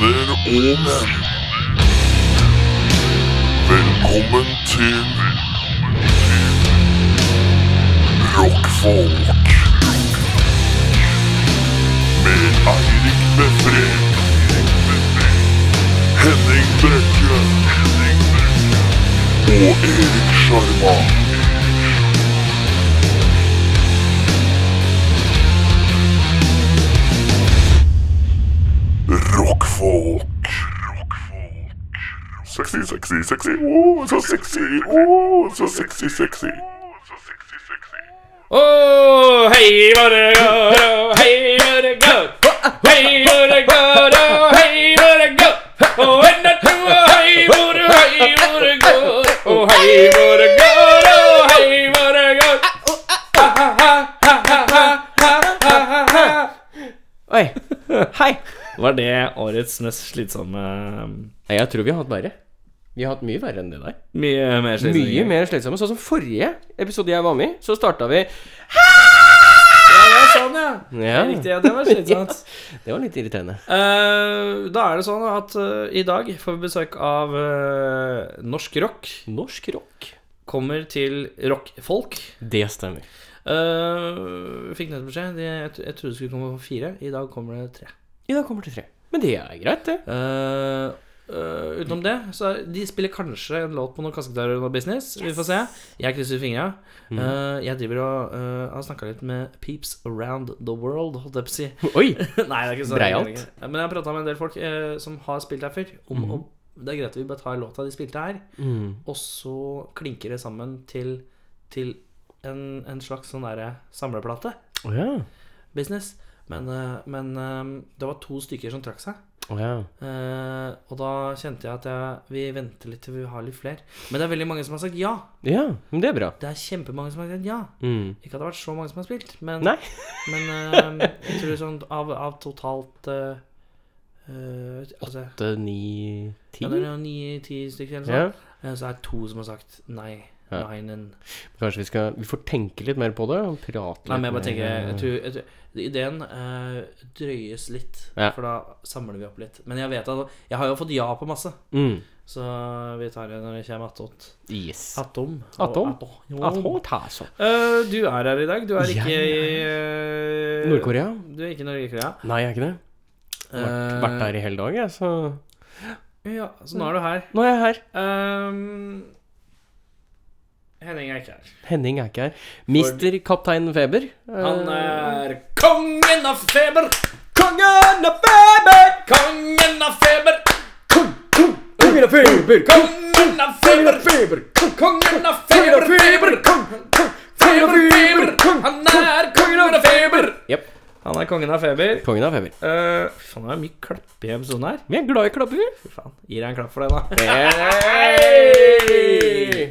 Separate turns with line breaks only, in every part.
Omen. Velkommen til Rockfolk. Med Eirik Befre. Henning Brekke. Og Erik Sjarma. Rockfolk. Sexy, sexy, sexy. Ooh, so sexy. Ooh, so sexy, sexy.
Oh, hey, what a good, oh, hey, what a good, hey, what a good, oh, hey, what a good, oh, and I do, oh, hey, what a, hey, what a good, oh, hey, what a good, oh, hey, what a good, ha, ha, ha, ha, ha, ha, ha, ha, ha, ha.
Oi. Hei.
Var det årets mest slitsomme um,
Nei, Jeg tror vi har hatt verre. Vi har hatt mye verre enn det der.
Mye mer slitsomme
Mye mer slitsomme. Sånn som forrige episode jeg var med i, så starta vi
Ja, det var sånn, ja.
Ja.
Riktig, ja, det var slitsomt.
Det var litt irriterende.
Eh, da er det sånn at eh, i dag får vi besøk av eh, norsk rock.
Norsk rock.
Kommer til rockfolk.
Det stemmer.
Uh, fikk nettopp beskjed. De, jeg, jeg trodde det skulle komme fire. I dag kommer det tre.
I dag kommer det tre. Men det er greit, det.
Eh, eh, utenom det, så er, de spiller kanskje en låt på noen kassegitarer under business. Vi får se. Jeg krysser fingra. Eh, jeg driver og eh, har snakka litt med peeps around the world, holdt jeg på å si.
Oi!
Nei, det er ikke så
Breialt.
Ja, Men jeg har prata med en del folk eh, som har spilt her før, om, om det er greit at vi bare tar låta de spilte her, og så klinker det sammen til, til en, en slags sånn derre samleplate.
Å ja.
Business. Men, eh, men eh, det var to stykker som trakk seg.
Å ja.
Eh, og da kjente jeg at jeg, vi venter litt til vi har litt flere. Men det er veldig mange som har sagt ja.
Ja, men det er bra.
Det er kjempemange som har sagt ja.
Mm.
Ikke at det har vært så mange som har spilt, men
Nei.
men eh, jeg tror sånn av, av totalt eh, eh, altså,
Åtte, ni, ti?
ja, det er noen ni-ti stykker eller
Ja.
sånn. Eh, Så er det to som har sagt nei.
Ja.
Nei, nei.
Kanskje vi skal Vi får tenke litt mer på det? Og prate litt
nei, men jeg bare tenker
mer.
jeg tror, jeg tror, Ideen eh, drøyes litt,
Ja.
for da samler vi opp litt. Men jeg vet at Jeg har jo fått ja på masse,
mm.
så vi tar det når vi kommer attåt.
Yes.
Attom.
Attom?
Attom.
At hå ta så.
Eh, du er her i dag. Du er
Jeg
ikke i eh,
Nord-Korea?
Du er ikke i Nord-Korea.
Nei, jeg er ikke det. Vært,
Eh.
vært der i hele dag, jeg, så
Ja, så nå er du her.
Nå er jeg her.
Ehm, Henning er ikke her.
Henning er ikke her. Mister Kaptein Feber.
Han
eh,
er kongen av feber! Kongen av feber! Kongen av feber!
Kongen av feber!
Kongen av feber!
feber!
Kongen av feber! Feber! Feber! feber. Han er kongen av feber!
Jepp.
Han er kongen av feber.
Kongen av feber.
Eh, Fy faen, det er mye klapp i episoden her.
Vi er glad i klapper.
Fy faen, Gir jeg en klapp for den, da.
Hey!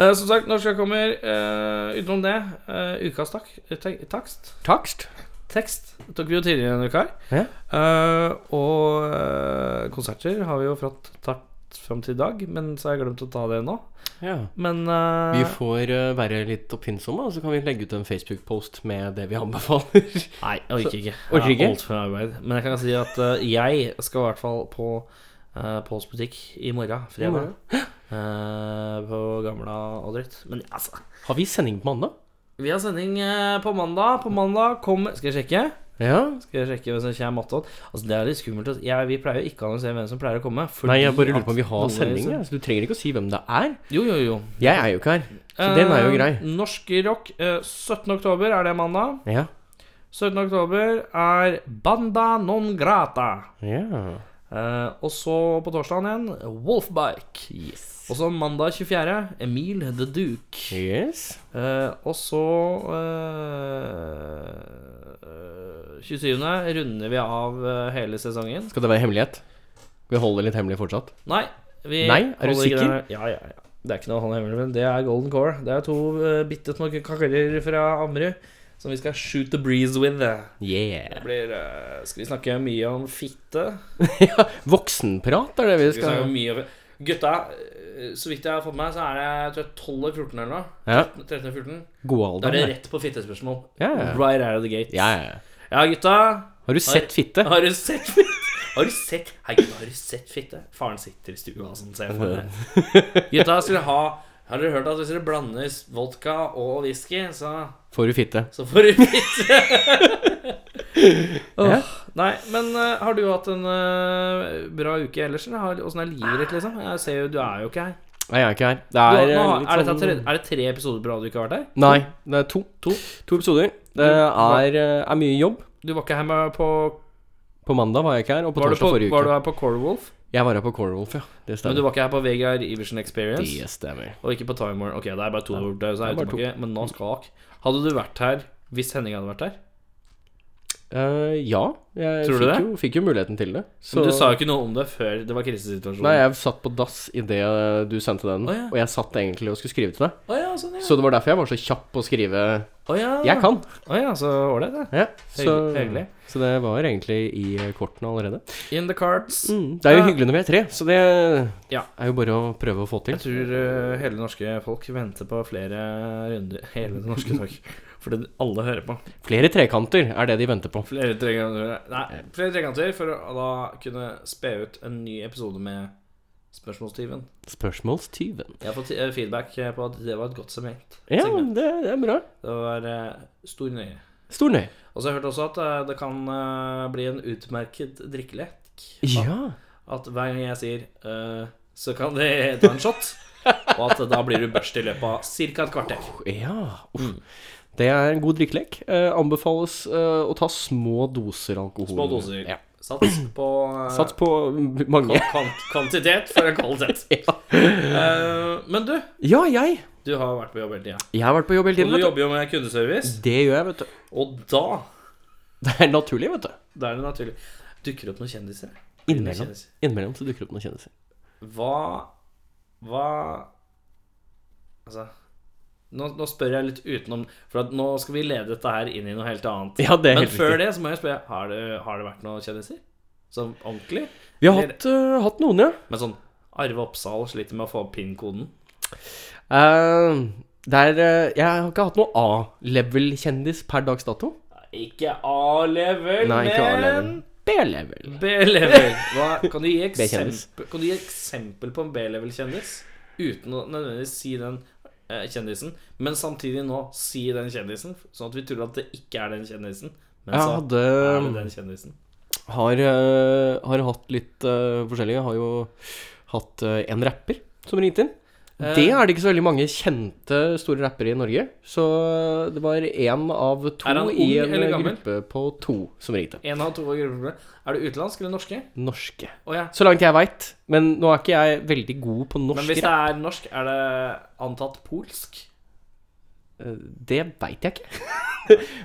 Eh, som sagt, norsk jeg kommer. eh, utenom det, eh, ukas tak te- takst
Takst.
Tekst tok vi jo tidligere denne uka. her.
Ja.
Eh, og eh, konserter har vi jo fått tatt fram til i dag, men så har jeg glemt å ta det nå.
Ja.
Men
Vi
eh,
får eh, være litt oppfinnsomme, og så kan vi legge ut en Facebook-post med det vi anbefaler.
Nei, jeg orker ikke.
Orker
Jeg har
ikke?
alt for mye arbeid. Men jeg kan si at eh, jeg skal i hvert fall på uh, Påls butikk i morgen,
I
fredag.
morgen.
Eh, på Gamla og dritt. Men altså
Har vi sending på mandag?
Vi har sending eh, på mandag. På mandag kommer Skal jeg sjekke?
Ja.
Skal jeg sjekke hvem som kommer attåt? Altså, det er litt skummelt. ass. Jeg, vi pleier jo ikke å annonsere hvem som pleier å komme. fordi
Nei, jeg bare
at
lurer på om vi
noen-
har sending. Ja. Så du trenger ikke å si hvem det er.
Jo, jo, jo.
Jeg er jo ikke her, så den er jo
Eh,
grei.
norsk rock. eh, 17. oktober er det mandag.
Ja.
17. oktober er Banda non grata.
ja.
Eh, og så på torsdagen igjen Wolfbike.
Yes.
Og så mandag 24. Emil the Duke.
Yes.
Eh, og så eh, eh, 27. runder vi av eh, hele sesongen.
Skal det være hemmelighet? Vi holder litt hemmelig fortsatt.
Nei. Vi
Nei? Er du
holder ikke
sikker?
det- Ja, ja, ja. Det er ikke noe å holde hemmelig, men det er Golden Core. Det er to uh, bitte små kakeller fra Ammerud som vi skal shoot the breeze with. eh. Det
Yeah.
blir, eh, skal vi snakke mye om fitte?
ja, voksenprat er det vi
Skal vi snakke
skal
mye om Gutta, eh, så vidt jeg har fått med meg, så er det jeg tror 12 eller 14 eller noe.
Ja,
13 eller 14.
god alder.
Da er det
det.
rett på fittespørsmål.
Ja, ja.
Right out of the gate.
Ja, ja.
Ja, gutta.
Har du sett fitte?
Har du sett fitte? Har du sett Hei, gutta, har du sett fitte? Faren sitter i stua og sånn, ser jeg for meg. Gutta, skulle ha Har dere hørt at hvis dere blander vodka og whisky, så,
Får du fitte?
så får du fitte? Åh, Nei, men eh, har du hatt en eh, bra uke ellers, eller? Har- Åssen er livet ditt, liksom? Jeg ser jo, Du er jo ikke her.
Nei, jeg er ikke her. Det
Du,
er,
nå,
eh,
har-
litt
er, dette
sånn-
tre, er det tre episoder på rad du ikke har vært her?
Nei, det er to.
To?
To episoder. Det er, eh, er mye jobb.
Du var ikke her med på
På mandag var jeg ikke her, og på
Var du,
torsdag
på,
forrige uke.
var du her på Corewolf?
Jeg var her på Corewolf, ja. Det
Men du
stemmer.
var ikke her på Vegard Iversen Experience?
Det stemmer.
Og ikke på Timer. Ok, det er bare to det er
bare to.
utebakke, men nå skal ak. Hadde du vært her hvis Henning hadde vært her?
Eh, ja, jeg
Tror du
fikk,
det?
jo, fikk jo muligheten til det. Så-
Men du sa jo ikke noe om det før det var krisesituasjonen.
Nei, jeg satt på dass idet du sendte den,
Å, ja.
og jeg satt egentlig og skulle skrive til deg.
Å ja, sånn, ja.
Så det var derfor jeg var så kjapp på å skrive
Å ja.
'jeg kan'.
Å ja, så ålreit, det.
Ja,
Hyggelig-
så,
hyggelig.
så det var egentlig i eh, kortene allerede.
In the cards.
Mm, det er jo
Ja.
hyggelig når vi er tre, så det
Ja.
er jo bare å prøve å få til.
Jeg tror eh, hele det norske folk venter på flere runder Hele det norske folk. For det alle hører på.
Flere trekanter er det de venter på.
Flere trekanter Nei, flere trekanter for å da kunne spe ut en ny episode med Spørsmålstyven.
Spørsmålstyven.
Jeg har fått eh, feedback på at det var et godt segment.
Ja,
segment.
det, det er bra.
Det var eh, stor nøye.
Stor nøye.
Og så har jeg hørt også at eh, det kan eh, bli en utmerket drikkelek.
Ja.
At hver gang jeg sier eh, så kan det ta en shot. Og at da blir du børst i løpet av ca. et kvarter.
Ja. Uff.
Mm.
Det er en god drikkelek. Eh, anbefales eh, å ta små doser alkohol.
Små doser.
Ja.
Sats på eh,
Sats på mm, mange.
kvant kvantitet for en kvalitet. Eh, men du,
Ja, jeg.
du har vært på jobb hele tida.
Jeg har vært på jobb hele
Og
tiden.
du
Vet
jobber jo med kundeservice.
du. Det gjør jeg, vet du.
Og da,
Det er naturlig, vet du.
da er det naturlig Dukker opp noen kjendiser.
Innimellom, innimellom så dukker det opp noen kjendiser.
Hva Hva Altså nå, nå spør jeg litt utenom, for at nå skal vi lede dette her inn i noe helt annet.
Ja, det er
Men
helt
før
riktig.
det så må jeg spørre Har det, har det vært noen kjendiser? Sånn ordentlig?
Vi har hatt, eh, hatt noen, ja.
Men sånn Arve Oppsal sliter med å få opp pin-koden.
Eh, det er eh, Jeg har ikke hatt noe A-level-kjendis per dags dato.
Ikke A-level,
Nei, ikke A-level.
men
B-level.
B-level. Hva- Kan, du gi
B-kjendis.
eksempel- kan du gi eksempel på en B-level-kjendis? Uten å nødvendigvis si den eh, kjendisen, men samtidig nå si den kjendisen, sånn at vi tror at det ikke er den kjendisen. Men
Jeg
så
hadde um,
er det den kjendisen.
Har, eh, har hatt litt eh, forskjellige. Har jo hatt eh, en rapper som ringte inn.
Eh.
Det er det ikke så veldig mange kjente store rappere i Norge. Så eh, det var én av to
Er han
i
ung
en
eller gammel?
gruppe på to som ringte.
En av to av gruppeproblemer. Er det utenlandsk eller norske?
Norske.
Å ja.
Så langt jeg veit. Men nå er ikke jeg veldig god på norsk.
Men hvis det
rap.
er norsk, er det antatt polsk?
Eh, Det veit jeg ikke.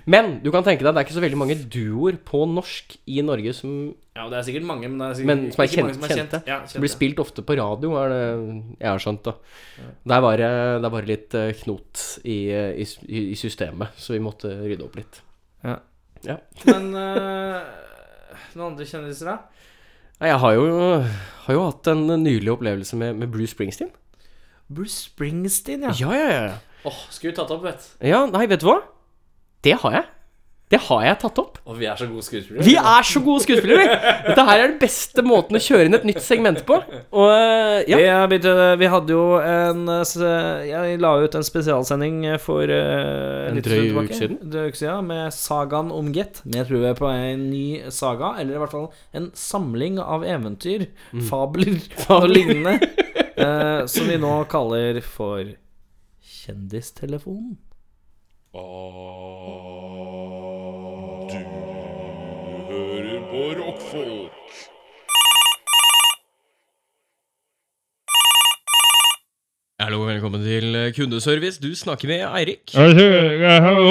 men du kan tenke deg det er ikke så veldig mange duoer på norsk i Norge som
Ja, det er sikkert mange, men det er sikkert
Men som er
ikke mange
kjent-
kjent.
kjente.
Ja,
blir
kjente.
spilt ofte på radio, er det jeg har skjønt. da Der var det der var det litt eh, knot i, eh, i, s- i systemet, så vi måtte rydde opp litt.
Ja.
Ja.
Men eh, noen andre kjendiser, da?
Nei, Jeg har jo, har jo hatt en nylig opplevelse med, med Bruce Springsteen.
Bruce Springsteen,
Ja, ja, ja.
Åh, skulle vi tatt opp, vet
Ja, nei, vet du hva? Det har jeg. Det har jeg tatt opp.
Og vi er så gode skuespillere.
Vi er så gode skuespillere! vi. Dette her er den beste måten å kjøre inn et nytt segment på. Og eh, ja.
Vi, er blitt, eh, vi hadde jo en eh, s- Jeg la ut en spesialsending eh, for eh,
En
litt
drøy
stund tilbake.
uke siden.
Drøy uke siden med sagaen om Get. Men jeg tror vi er på en ny saga, eller i hvert fall en samling av eventyr, Mm. fabler og lignende, eh, som vi nå kaller for Kjendistelefonen.
Ah, Hører på rockfolk.
Hallo, velkommen til kundeservice. Du snakker med Eirik.
Altså, ja, hallo?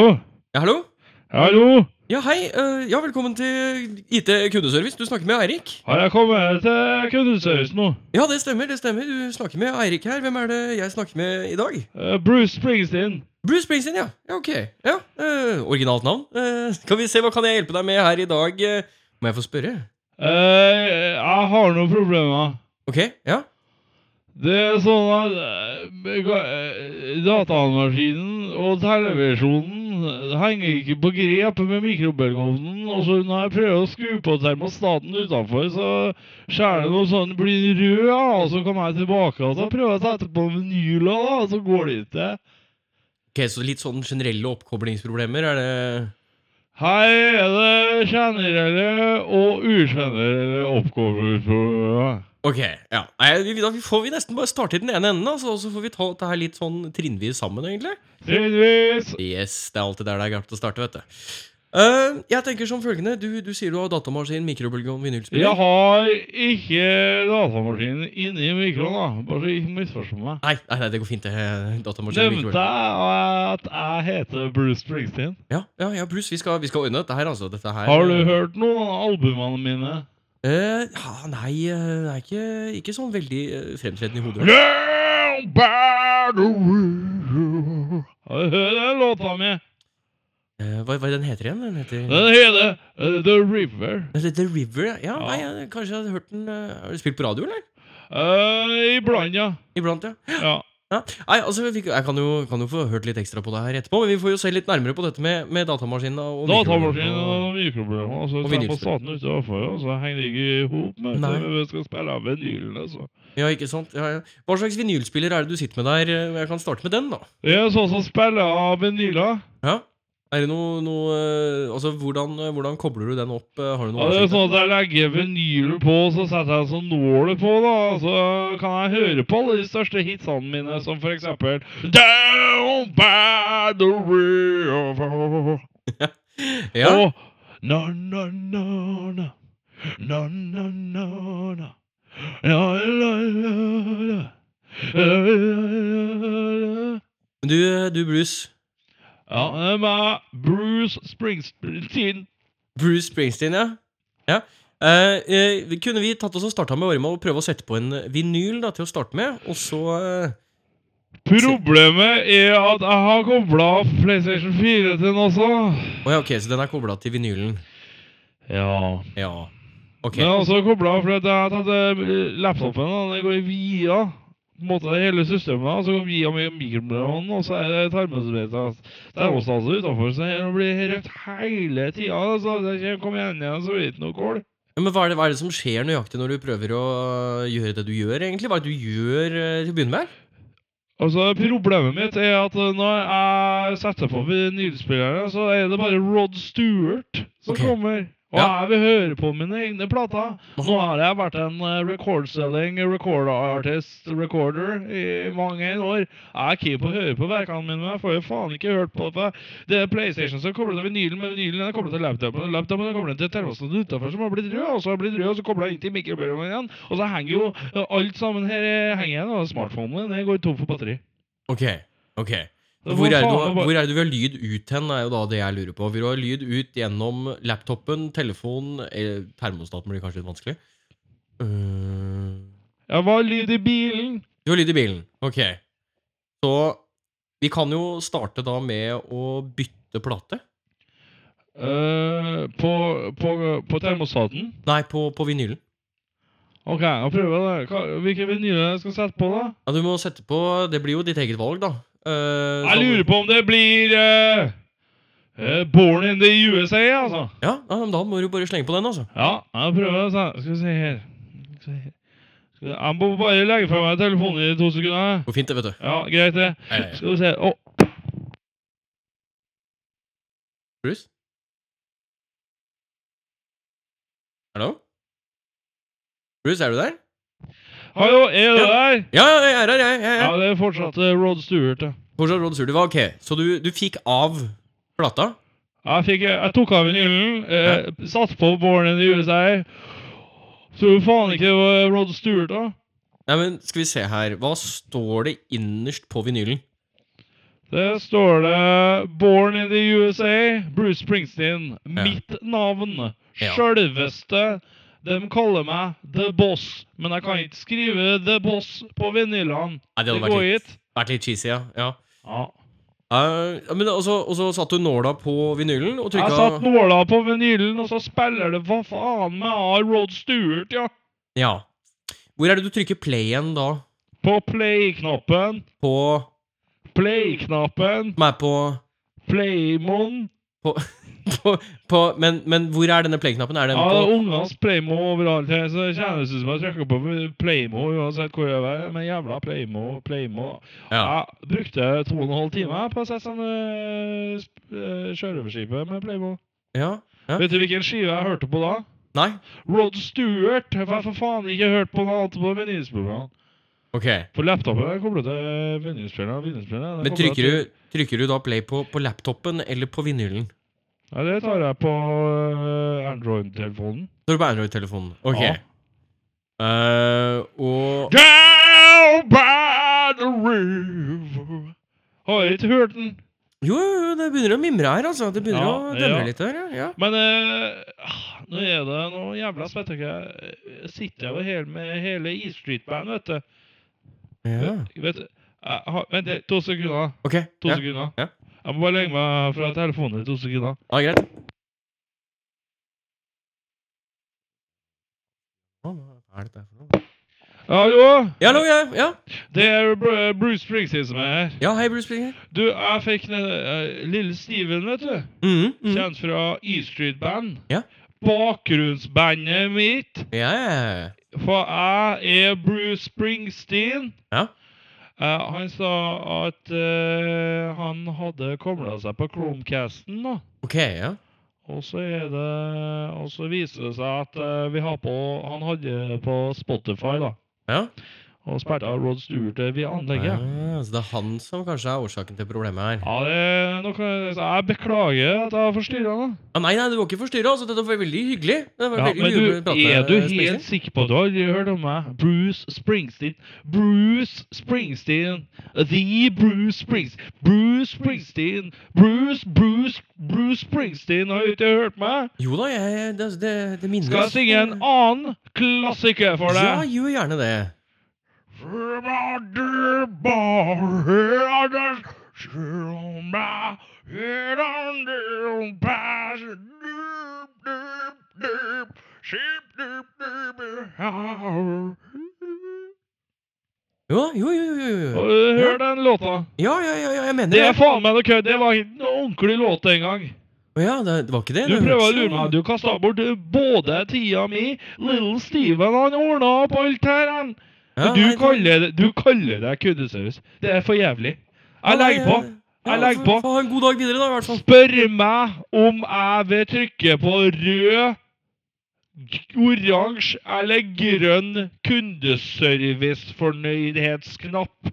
Ja, hallo?
Hallo?
Ja, hei. eh, Ja, velkommen til IT kundeservice. Du snakker med Eirik.
Har jeg kommet til kundeservice nå?
Ja, det stemmer, det stemmer. Du snakker med Eirik her. Hvem er det jeg snakker med i dag?
Eh, Bruce Springsteen.
Bruce Springsteen, ja. Ja, ok. Ja, eh, Originalt navn. Eh, skal vi se, hva kan jeg hjelpe deg med her i dag? Eh, Må jeg få spørre?
Eh, jeg har noen problemer.
Ok, ja.
Det er sånn at eh, ga- eh, datamaskinen og televisjonen Det henger ikke på grepet med mikrobølgeovnen. Og så når jeg prøver å skru på termostaten utenfor, så skjærer det noe sånn, blir rød, da, og så kommer jeg tilbake og så prøver jeg å sette på vinyla, da, og så går det ikke.
Ok, Så litt sånn generelle oppkoblingsproblemer, er det
Her er det generelle og ugenerelle oppkoblingsproblemer.
Ok, ja. Nei, vi, da får vi nesten bare starte i den ene enden, altså, og så får vi ta dette her litt sånn trinnvis sammen, egentlig.
Trinnvis!
Yes, det er alltid der det er galt å starte, vet du. Eh, jeg tenker som følgende. Du, du sier du har datamaskin, mikrobølgeovn, vinylspiller.
Jeg har ikke datamaskinen inni mikroen, da. Bare så ikke misforstå meg.
Nei, nei, nei, det går fint. det. Datamaskin.
Nevnte
mikrobølgeovn.
jeg at jeg heter Bruce Springsteen?
Ja, ja, ja Bruce, vi skal, vi skal ordne dette her, altså. Dette her
Har du hørt noen av albumene mine?
Eh, ja, nei, eh, det er ikke, ikke sånn veldig eh, fremtredende i hodet.
Down by the river. Har du hørt den låta mi?
Eh, hva, hva er den heter igjen? Den heter
Den heter eh, The River.
Den heter The River, ja. ja.
Ja.
Nei, jeg, kanskje jeg hadde hørt den eh, Har du spilt på radio, eller?
Eh, iblant, ja.
Iblant, ja.
ja.
Ja. Nei, altså, vi, fikk- jeg kan jo, kan jo få hørt litt ekstra på det her etterpå, men vi får jo se litt nærmere på dette med, med datamaskinen og
Datamaskinen
mikrofonen
og mikroproblemer. Altså,
Og
og på
vinylspiller.
staten ute overfor, og så henger det ikke i hop med
Nei.
det vi skal spille av vinylen. Altså.
og- Ja, ikke sant? Ja, ja. Hva slags vinylspiller er det du sitter med der? Jeg kan starte med den, da.
Det er sånn som spiller av vinyler.
Ja? Er det noe, noe eh, Altså, hvordan, eh, hvordan kobler du den opp? Eh, Har du noe
Ja, det er
oversikt?
sånn at jeg legger vinylen på, så setter jeg en sånn nål på, da. Så kan jeg høre på alle de største hitsene mine, som for eksempel Down by the river.
Ja,
Og na, na, na, na. Na, na, na, na. La, la, la, la. La, la, la, la.
men du, eh, du Bruce.
Ja, det er meg, Bruce Springsteen.
Bruce Springsteen, ja. ja. Eh, eh, vi kunne vi tatt oss og starta med å være med og prøve å sette på en eh, vinyl da, til å starte med, og så eh,
Problemet er at jeg har kobla PlayStation 4 til den også.
Å ja, ok, så den er kobla til vinylen.
Ja.
Ja. Ok.
Men altså kobla for at jeg tatt eh, laptopen, da, den går i via. På en måte det hele systemet, da, så går via med mikrofonen, og så er det tarmosbeta- termostaser utenfor, så her blir rødt hele tida. da, Så det kommer- kom igjen igjen, så blir det ikke noe kål.
Ja, Men hva er, det, hva er det som skjer nøyaktig når du prøver å eh, gjøre det du gjør, egentlig? Hva er det du gjør eh, til å begynne med?
Altså, problemet mitt er at eh, når jeg setter på vinylspillere, så er det bare Rod Stewart som
Ok.
kommer. Og
Ja.
jeg vil høre på mine egne plater. Nå har jeg vært en eh, record-selling, record artist, recorder i mange år. Jeg er keen på å høre på verkene mine, men jeg får jo faen ikke hørt på det. for Det er PlayStation som kobler til vinylen, men vinylen er koblet til laptopen, og laptopen er koblet til termostaten utenfor som har blitt rød, og så har blitt rød, og så kobler jeg inn til mikrobølgen igjen, og så henger jo eh, alt sammen her eh, henger igjen, og smartphonen min den går tom for batteri.
Ok, ok.
Det
Hvor
var
er, det du,
faen meg bare-
hvor er det du vil ha lyd ut hen, er jo da det jeg lurer på. Vil du ha lyd ut gjennom laptopen, telefonen eller Termostaten blir kanskje litt vanskelig. Øh,
Jeg var lyd i bilen.
Du har lyd i bilen. Ok. Så vi kan jo starte da med å bytte plate.
eh, på, på, på termostaten.
Nei, på, på vinylen.
OK, jeg prøver det. Hva, hvilke vinyler jeg skal sette på, da?
Ja, du må sette på Det blir jo ditt eget valg, da. Eh,
Jeg
så-
lurer på om det blir eh, eh, Born in the USA, altså.
Ja, ja, men da må du bare slenge på den, altså.
Ja, jeg prøver det. så- Skal vi se her Skal vi se her. Skal vi- Jeg må bare legge fra meg telefonen i to sekunder.
Går fint, det, vet du.
Ja, greit, det.
Nei, nei, nei.
Skal vi se Å,
Bruce? Hallo? Bruce, er du der?
Hallo, er du der?
Ja, ja, jeg er her, jeg. jeg,
Ja,
jeg.
det er fortsatt eh, Rod Stewart, ja.
Fortsatt Rod Surdy. Ok, så du, du fikk av plata?
Jeg, fikk, eh, jeg tok av vinylen, eh, satt på Born in the USA. Tror du faen ikke det var Rod Stewart, da?
Nei, men skal vi se her. Hva står det innerst på vinylen?
Der står det 'Born in the USA', Bruce Springsteen.
Ja.
Mitt navn.
Ja.
Sjølveste. De kaller meg The Boss, men jeg kan ikke skrive The Boss på vinylene.
Nei, det
Det
hadde
går
vært litt,
ikke.
vært litt cheesy, ja. ja.
Ja.
Eh, ja, men altså, og så satt du nåla på vinylen og
Jeg
trykka
satt nåla på vinylen, og så spiller det hva faen meg av Rod Stewart, ja.
Ja. Hvor er det du trykker play igjen da?
På play-knappen.
På
Play-knappen.
Som er på
Playmon.
På, på, men, men hvor er denne play-knappen? Er den
Ja, det er
på
ungenes Playmo overalt her, så det kjennes ut som jeg trykker på Playmo uansett hvor jeg er. Men jævla Playmo, Playmo.
ja.
Jeg brukte to og en halv time på å sette sånn eh, sp- eh, sjørøverskipet med Playmo.
ja? Ja?
Vet du hvilken skive jeg hørte på da?
Nei?
Rod Stewart. Jeg har for faen ikke hørt på noe annet på vinylspillerne.
Ok.
På laptopen kommer det til vinylspillerne. vinylspillerne. Det
Men
kobler
trykker du, trykker du da play på, på laptopen eller på vinylen?
til- Nei, det tar jeg på eh, Android-telefonen.
Når du på Android-telefonen. Ok.
Ja.
Eh, og
Down by the river. Har jeg ikke hørt den?
Jo, jo, jo, det begynner å mimre her, altså. Det begynner
Ja,
å demre
ja.
litt her, ja. ja.
Men eh, ah, nå er det noe jævla spettøkke. Jeg sitter jo her med hele E Street Band, vet du.
ja.
Vet du. jeg har- Vent litt, to sekunder.
Ok.
To
Ja.
sekunder.
ja.
Jeg må bare legge meg fra telefonen i to sekunder.
Ja, greit. Hva er dette her for noe?
Hallo!
Ja, hallo, ja, ja.
Det er Bru- Bruce Springsteen som er her.
Ja, hei, Bruce Springer.
Du, jeg fikk ned, eh, lille Steven, vet du.
Mhm, mhm.
Kjent fra E Street Band.
Ja.
Bakgrunnsbandet mitt.
Ja, ja, ja.
For jeg er Bruce Springsteen.
Ja.
Eh, han sa at eh, han hadde kobla seg på Chromecasten, da.
Ok, ja.
Og så er det Og så viser det seg at eh, vi har på Han hadde på Spotify, da.
Ja.
Og spilte av Rod Stewart eh, via anlegget.
Ah, så det er han som kanskje er årsaken til problemet her.
Ja, det er noe Jeg beklager at jeg har forstyrra, da.
Ah, nei, nei, du må ikke forstyrre oss. Dette var veldig hyggelig. Det var
Ja,
veldig
men
hyggelig å
du,
prate
er
med
du
Springsteen.
helt sikker på at du har aldri hørt om meg? Bruce Springsteen. Bruce Springsteen. The Bruce Springsteen. Bruce Springsteen. Bruce, Bruce, Bruce Springsteen. Har du ikke hørt meg?
Jo da, jeg, det, altså, det, det minner
Skal jeg
oss-
synge en annen klassiker for
Ja,
deg?
gjør gjerne det. Jo, jo, jo, jo, jo, jo.
Hør den låta.
Ja, ja, ja, ja jeg mener
Det er faen meg noe kødd. Det var ikke noen ordentlig låt den gang.
Å ja, det, det var ikke det.
Du
det
prøver å
hørtes- sånn
lure meg. Du kasta bort både tida mi Little Steven han ordna opp alt her, han.
Ja,
Du
nei, det-
kaller, det- du kaller deg kuddesaus. Det er for jævlig. Jeg legger på.
Ja,
Jeg legger
få-
på.
få Ha en god dag videre, da, i hvert fall.
Spør meg om jeg vil trykke på rød, oransje eller grønn kundeservicefornøydhetsknapp.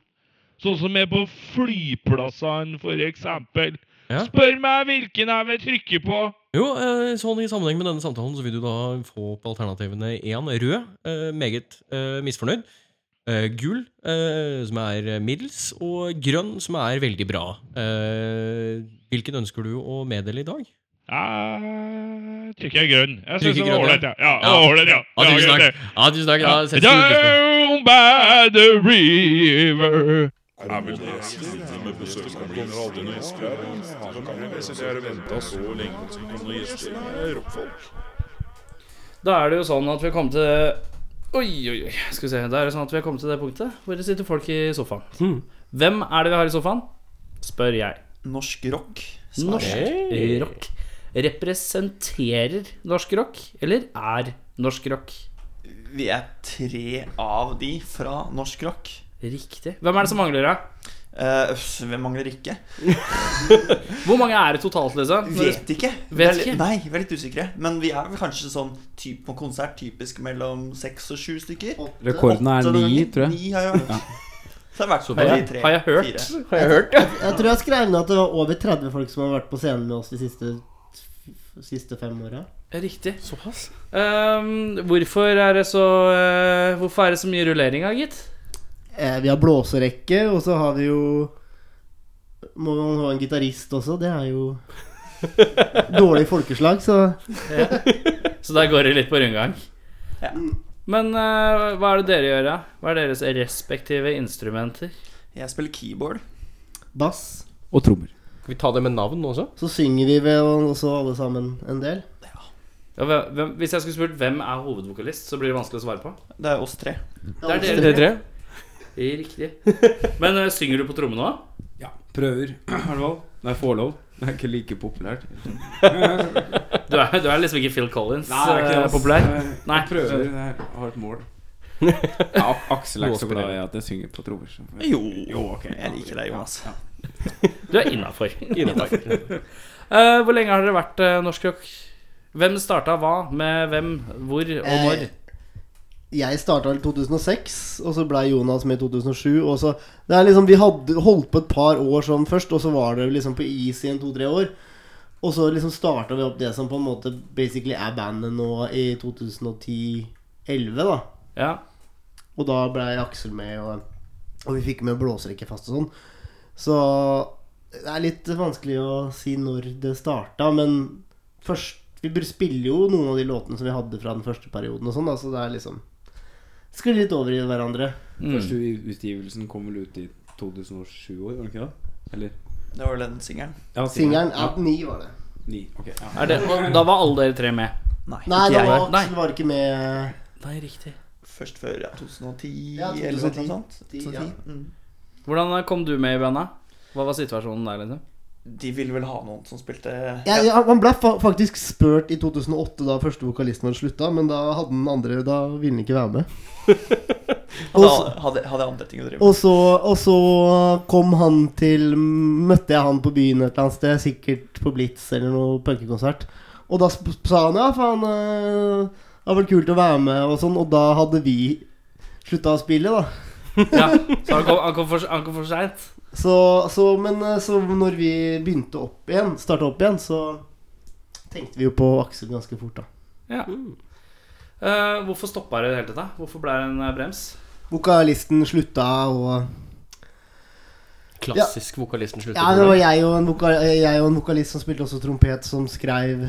Sånn som er på flyplassene, for eksempel.
Ja.
Spør meg hvilken jeg vil trykke på.
Jo, eh, sånn I sammenheng med denne samtalen så vil du da få opp alternativene én rød, eh, meget eh, misfornøyd. Eh, gul, eh, som er middels, og grønn, som er veldig bra. Eh, hvilken ønsker du å meddele i dag?
Jeg trykker grønn. Jeg
Trykker
syns det var
grønn,
ålreit, ja. Ja,
Ja.
ålreit, ja.
Ja, tusen
greit,
takk.
det.
Ja, tusen takk. Da setter vi pris på det.
Down by the river.
Da er det jo sånn at vi har kommet til Oi, oi, oi. Skal vi se. Da er det sånn at vi har kommet til det punktet hvor det sitter folk i sofaen.
Hmm.
Hvem er det vi har i sofaen? Spør jeg.
Norsk rock.
Norsk rock. Representerer norsk rock, eller er norsk rock?
Vi er tre av de fra norsk rock.
Riktig. Hvem er det som mangler, da?
Eh, øff, hvem mangler ikke?
Hvor mange er det totalt, liksom? Når du-
Vet ikke. Vi er
Vet
litt-
ikke.
Nei, vi er litt usikre. Men vi er vel kanskje sånn typ, på konsert typisk mellom seks og sju stykker.
Rekorden er
Åtte den
ni,
gangen.
tror jeg.
Ni har jeg hørt. Så det har vært
har
bare
jeg,
tre,
har jeg hørt?
fire.
Har jeg hørt?
Jeg tror jeg skrev ned at det var over 30 folk som har vært på scenen med oss de siste, siste fem åra.
Riktig. Ehm, hvorfor er det så eh, Hvorfor er det så mye rullering, da, gitt?
Eh, vi har blåserekke, og så har vi jo Må man ha en gitarist også? Det er jo dårlig folkeslag, så
Så der går det litt på rundgang.
Ja.
Men eh, hva er det dere gjør, da? Hva er deres respektive instrumenter?
Jeg spiller keyboard.
bass.
Og trommer.
Skal vi ta det med navn også?
Så synger vi vel også alle sammen en del.
Ja, hvem, hvem, hvis jeg skulle spurt hvem er hovedvokalist, så blir det vanskelig å svare på.
Det er oss tre.
Det
er dere.
Det tre?
Riktig. Men eh, synger du på trommene òg?
Prøver, i hvert fall. Når jeg får lov. Det er ikke like populært.
Du er, du er liksom ikke Phil Collins
Nei, det er ikke det,
eh,
ass.
populær. Nei.
Jeg prøver. Jeg har et mål. Ja, Aksel er ikke så glad i at jeg synger på trommer. så-
Jo,
ok.
jeg liker deg, Jonas.
Du er innafor. Eh, hvor lenge har dere vært eh, norsk rock? Hvem starta hva, med hvem, hvor og når?
Eh, Jeg starta i 2006, og så blei Jonas med i 2007. Og så, det er liksom, vi hadde holdt på et par år sånn først, og så var det liksom på is i en to-tre år. Og så liksom starta vi opp det som på en måte basically er bandet nå i 2010-11, da.
Ja.
Og da blei Aksel med, og, og vi fikk med blåserekke fast og sånn. Så det er litt vanskelig å si når det starta, men først Vi bør- spiller jo noen av de låtene som vi hadde fra den første perioden og sånn, da, så det er liksom Sklir litt over i hverandre.
Mm.
Første utgivelsen kom vel ut i 2007 år, var det ikke det? Eller?
Det var vel den singelen?
Ja,
Singelen er ni, var det.
Ni, ok. Ja.
Er det, og da var alle dere tre med.
Nei,
Nei,
ikke
da
jeg.
var Aksel var ikke med.
Nei, riktig.
Først før ja, 2010,
Ja,
eller
2010,
noe sånt.
ja.
2010. Mm.
Hvordan eh, kom du med i bandet? Hva var situasjonen der, liksom?
De ville vel ha noen som spilte
Ja, ja, han ble fa faktisk spurt i 2008, da første vokalisten vår slutta, men da hadde den andre Da ville han ikke være med. Og
hadde,
så-
hadde, hadde andre ting å drive med.
Og så, og så kom han til Møtte jeg han på byen et eller annet sted, sikkert på Blitz eller noe punkekonsert. Og da sp sa han ja, faen, eh, det har vært kult å være med, og sånn. Og da hadde vi slutta å spille, da.
Ja, så han kom, han kom for, han kom for seint?
Så, så, men eh, så når vi begynte opp igjen, starta opp igjen, så tenkte vi jo på Aksel ganske fort, da.
Ja. Eh, hvorfor stoppa dere i det hele tatt? da? Hvorfor ble det en eh, brems?
Vokalisten slutta, og
Klassisk vokalisten slutter.
Ja, det var jeg og, en voka jeg og en vokalist som spilte også trompet, som skrev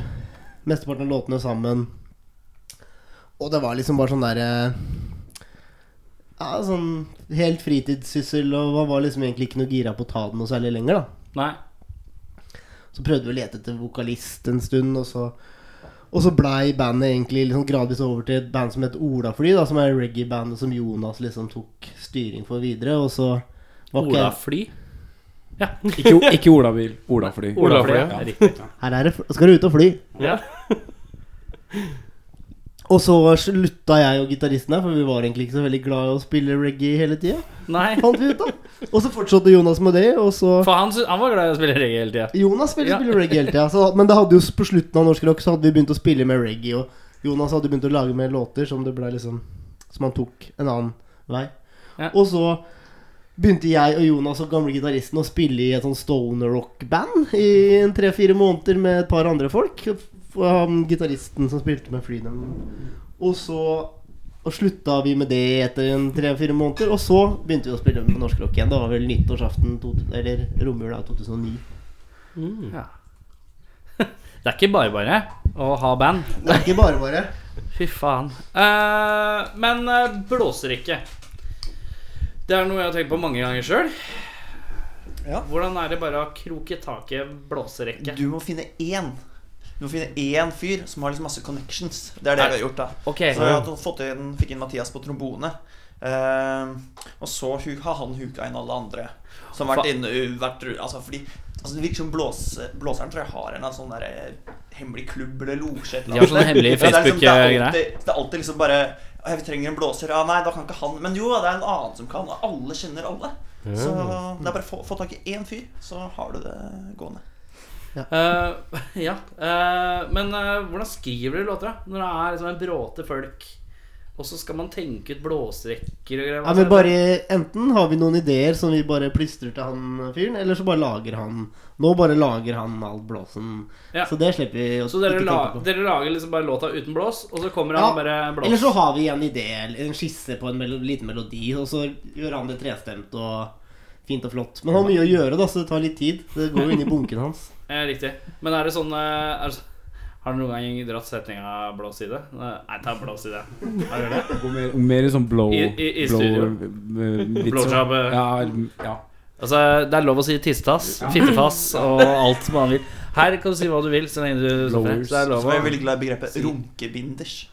mesteparten av låtene sammen. Og det var liksom bare sånn derre Ja, sånn helt fritidssyssel, og man var liksom egentlig ikke noe gira på å ta det noe særlig lenger, da.
Nei.
Så prøvde vi å lete etter vokalist en stund, og så og så blei bandet egentlig liksom gradvis over til et band som het Olafly, da, som er reggae-bandet som Jonas liksom tok styring for videre, og så var ikke-
Olafly?
Ikke, o- ikke olabil, olafly.
Olafly, ja.
Ja.
Riktig.
Her er det, fl- skal du ut og fly.
Ja.
Og så slutta jeg og gitaristen her, for vi var egentlig ikke så veldig glad i å spille reggae hele tida.
Nei.
Fant vi ut da. Og så fortsatte Jonas med det, og så
For han, sy- han var glad i å spille reggae hele tida.
Jonas ville
Ja.
spille reggae hele tida, men det hadde jo s- på slutten av norsk rock så hadde vi begynt å spille med reggae, og Jonas hadde begynt å lage mer låter som det ble liksom Som han tok en annen vei.
Ja.
Og så begynte jeg og Jonas og gamle gitaristen å spille i et sånn stoner rock-band i en tre-fire måneder med et par andre folk. F- um, Gitaristen som spilte med Freedom. Og så og slutta vi med det etter en tre-fire måneder. Og så begynte vi å spille på norsk rock igjen. Det var vel nyttårsaften to, eller romjula 2009.
Det er ikke bare bare eh, å ha band.
Det er ikke bare bare.
Fy faen. Eh, men eh, blåserekke. Det er noe jeg har tenkt på mange ganger sjøl.
Ja.
Hvordan er det bare å kroke tak i en blåserekke?
Du må finne én. Du må finne én fyr som har liksom masse connections. Det er det vi har gjort, da.
Ok,
Så jeg hadde fått inn, fikk inn Mathias på trombone. Eh, og så hu- har han huka inn alle andre som har vært
Fa-
inne vært, ru- altså, fordi, altså, Det virker som blåse, blåseren tror jeg har en eller annen sånn der, hemmelig klubb eller losje. et eller
De har sånne
annet.
hemmelige
Ja, det er liksom- det er
Facebook-greier.
alltid- Det er alltid liksom bare «Å, Vi trenger en blåser. Ja, nei, da kan ikke han. Men jo, det er en annen som kan. Og alle kjenner alle. Så det er bare å få, få tak i én fyr, så har du det gående.
eh, ja. eh, men eh, hvordan skriver dere låter, da? Når det er liksom en bråte folk, og så skal man tenke ut blåserekker og greier.
Ja, men bare Enten har vi noen ideer som vi bare plystrer til han fyren, eller så bare lager han Nå bare lager han all blåsen.
Ja.
Så det slipper vi å
Så dere,
ikke
la,
tenke på.
dere lager liksom bare låta uten blås, og så kommer
Ja,
han bare blås?
Eller så har vi en idé, eller en skisse på en melo liten melodi, og så gjør han det trestemt og fint og flott. Men han har mye å gjøre, da, så det tar litt tid. Det går jo inn i bunken hans.
Eh, riktig. Men er det sånn eh, er det, så- Har du noen gang dratt setninga 'blå side'? Nei, ta 'blå side'. Har du det?
Går mer, mer i sånn blow...
I- i- i
blow
studio.
eh, vitser.
Blowjob, eh.
Ja, ja.
Altså, det er lov å si tistass, fittefass og alt som man vil. Her kan du si hva du vil, så lenge du så
Blowers.
det er lov
Så jeg er
å
veldig glad i begrepet runkebinders.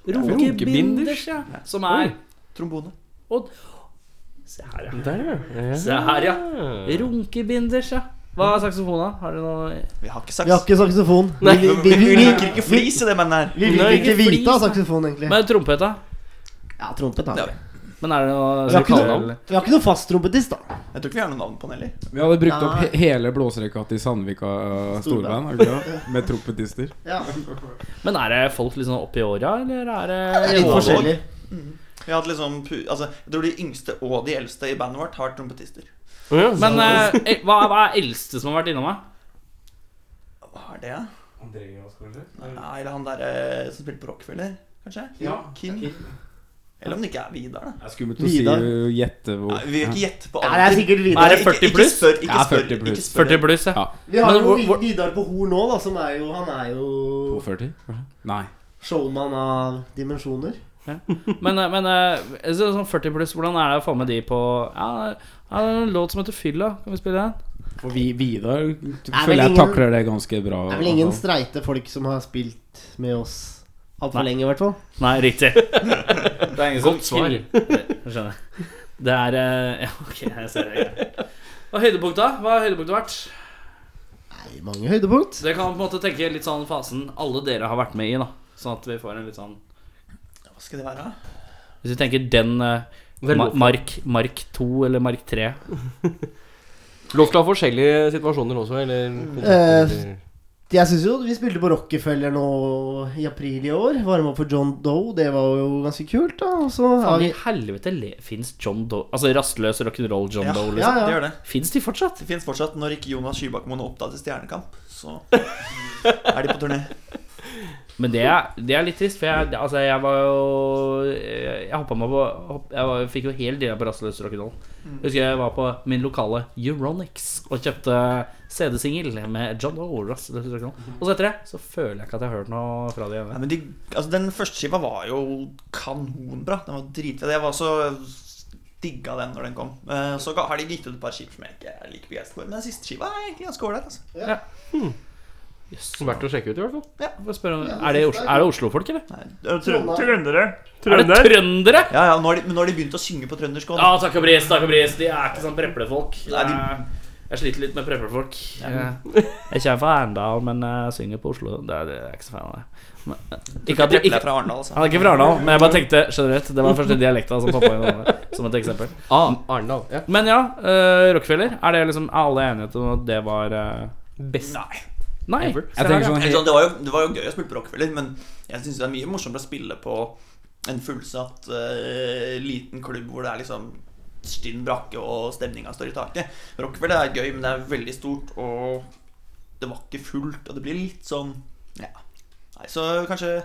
Runkebinders, ja. Som er
Trombone.
og, Se her, ja. Se her, ja. Runkebinders, ja. Hva er saksofona? Har du noe
Vi har ikke
Vi har
saks.
ikke saksofon. Vi,
Nei.
vi,
Vi,
vi, vi,
vi
vi,
liker ikke flis i det bandet her.
vi
Nei,
liker ikke
ikke
vite av
flis.
saksofon, egentlig.
Men trompeta?
Ja, trompet
Det
har
har
vi.
vi.
Men er det noe
Vi har ikke
kallenavn?
noe, vi har ikke noe fast trompetist, da.
Jeg tror ikke vi har noe navn på den heller.
Vi hadde brukt opp
Nei.
he hele blåserekka til Sandvika uh,
Storband.
storband har vi ikke det? med trompetister.
Ja,
Men er det folk litt sånn oppi åra, eller er det
det er litt
Ja,
forskjellig.
Vi har hatt liksom pu altså, Jeg tror de yngste og de eldste i bandet vårt har vært trompetister.
Men eh, el- hva, hva er eldste som har vært innom meg?
Hva er det? Nei, det er han der eh, som spilte på Rockefeller, kanskje? Kim? Eller om det ikke er Vidar, da.
Det er skummelt å
Vidar.
si uh, gjette hvor
Nei, vi vil ikke gjette på
Ja, det er
alder.
sikkert
Er
Vidar.
det 40
ikke, ikke
pluss?
spør, ikke
Ja,
spør,
40
ikke
pluss.
spør.
40 pluss, ja.
Ja.
Vi har
Men
jo
hvor-
Vi-
hvor-
Vidar på Hor nå, da, som er jo Han er jo
42? Nei.
showman av dimensjoner.
Men, eh, men eh, så, sånn 40 pluss, hvordan er det å få med de på Ja, ja det er en låt som heter Fylla. Kan vi spille den?
For vi, Vidar
vel
føler jeg
ingen-
takler det ganske bra. altså.
Det er vel ingen streite folk som har spilt med oss altfor
Nei.
lenge, i hvert fall.
Nei, riktig.
Det er ingen som
Godt svar. Skjønner. Det er eh, Ja, ok, jeg ser det. Hva er høydepunktet? da? Hva har høydepunktet vært?
Nei, mange høydepunkt.
Så jeg kan på en måte tenke litt sånn fasen alle dere har vært med i, da. Sånn at vi får en litt sånn
Hva skal det være?
Hvis vi tenker den eh,
Det er
ma
lov.
Mark, mark 2 eller Mark 3.
Lov til å ha forskjellige situasjoner også, eller
Eh, Jeg synes jo vi spilte på Rockefeller nå i april i år. Varme opp for John Doe. Det var jo ganske kult, da. Og så har
Faen i
vi
helvete fins John Doe Altså rastløs rock'n'roll John
Ja,
Doe,
Ja,
liksom?
ja.
Det gjør det.
Fins de fortsatt?
Det fins fortsatt. Når ikke Jonas Skybakmoen er opptatt i Stjernekamp, så er de på turné.
Men det er, det er litt trist, for jeg, altså, jeg var jo Jeg hoppa meg på hopp, Jeg var, fikk jo helt deal på Rastløs rock'n'roll.
Mm.
Jeg Husker jeg var på min lokale Euronics og kjøpte CD-singel med John Doe, Rastløs rock'n'roll. Og så etter det så føler jeg ikke at jeg har hørt noe fra dem
Nei,
igjen.
men de, altså, den første skiva var jo kanonbra. Den var dritfet. Jeg var så digga den når den kom. Eh, Så ga- har de gitt ut et par skiver som jeg ikke er like begeistret for. Men den siste skiva er egentlig ganske ålreit. Altså.
Jøss.
Verdt å sjekke ut, i hvert fall.
Ja.
Får spørre om- Er det, Os- er det Oslo-folk, eller?
Nei,
Trøndere.
Er det trøndere?
Ja, ja, nå har de, men nå har de begynt å synge på trøndersk òg.
Ja, takk og pris, takk og pris. De er ikke sånn preplefolk.
Nei, de-
Jeg- Jeg sliter litt med preplefolk. Jeg jeg kommer fra Arendal, men jeg synger på Oslo. Det er, det er jeg ikke så fan av det. Men, ikke at de,
Preple
ikke,
er fra Arendal, altså.
han er ikke fra Arendal, men jeg bare tenkte generelt. Det var den første dialekta som poppa inn. over, Som et eksempel.
Ah, Arendal. Ja.
Men ja, eh, Rockefeller. Er det liksom er alle enighet om at det var eh, best?
Nei.
Nei.
Jeg tenker sånn
Eller sånn, det, var jo, det var jo gøy å spille på Rockefeller, men jeg syns det er mye morsommere å spille på en fullsatt eh, liten klubb hvor det er liksom stinn brakke og stemninga står i taket. Rockefeller er gøy, men det er veldig stort, og det var ikke fullt, og det blir litt sånn Ja. Nei, så kanskje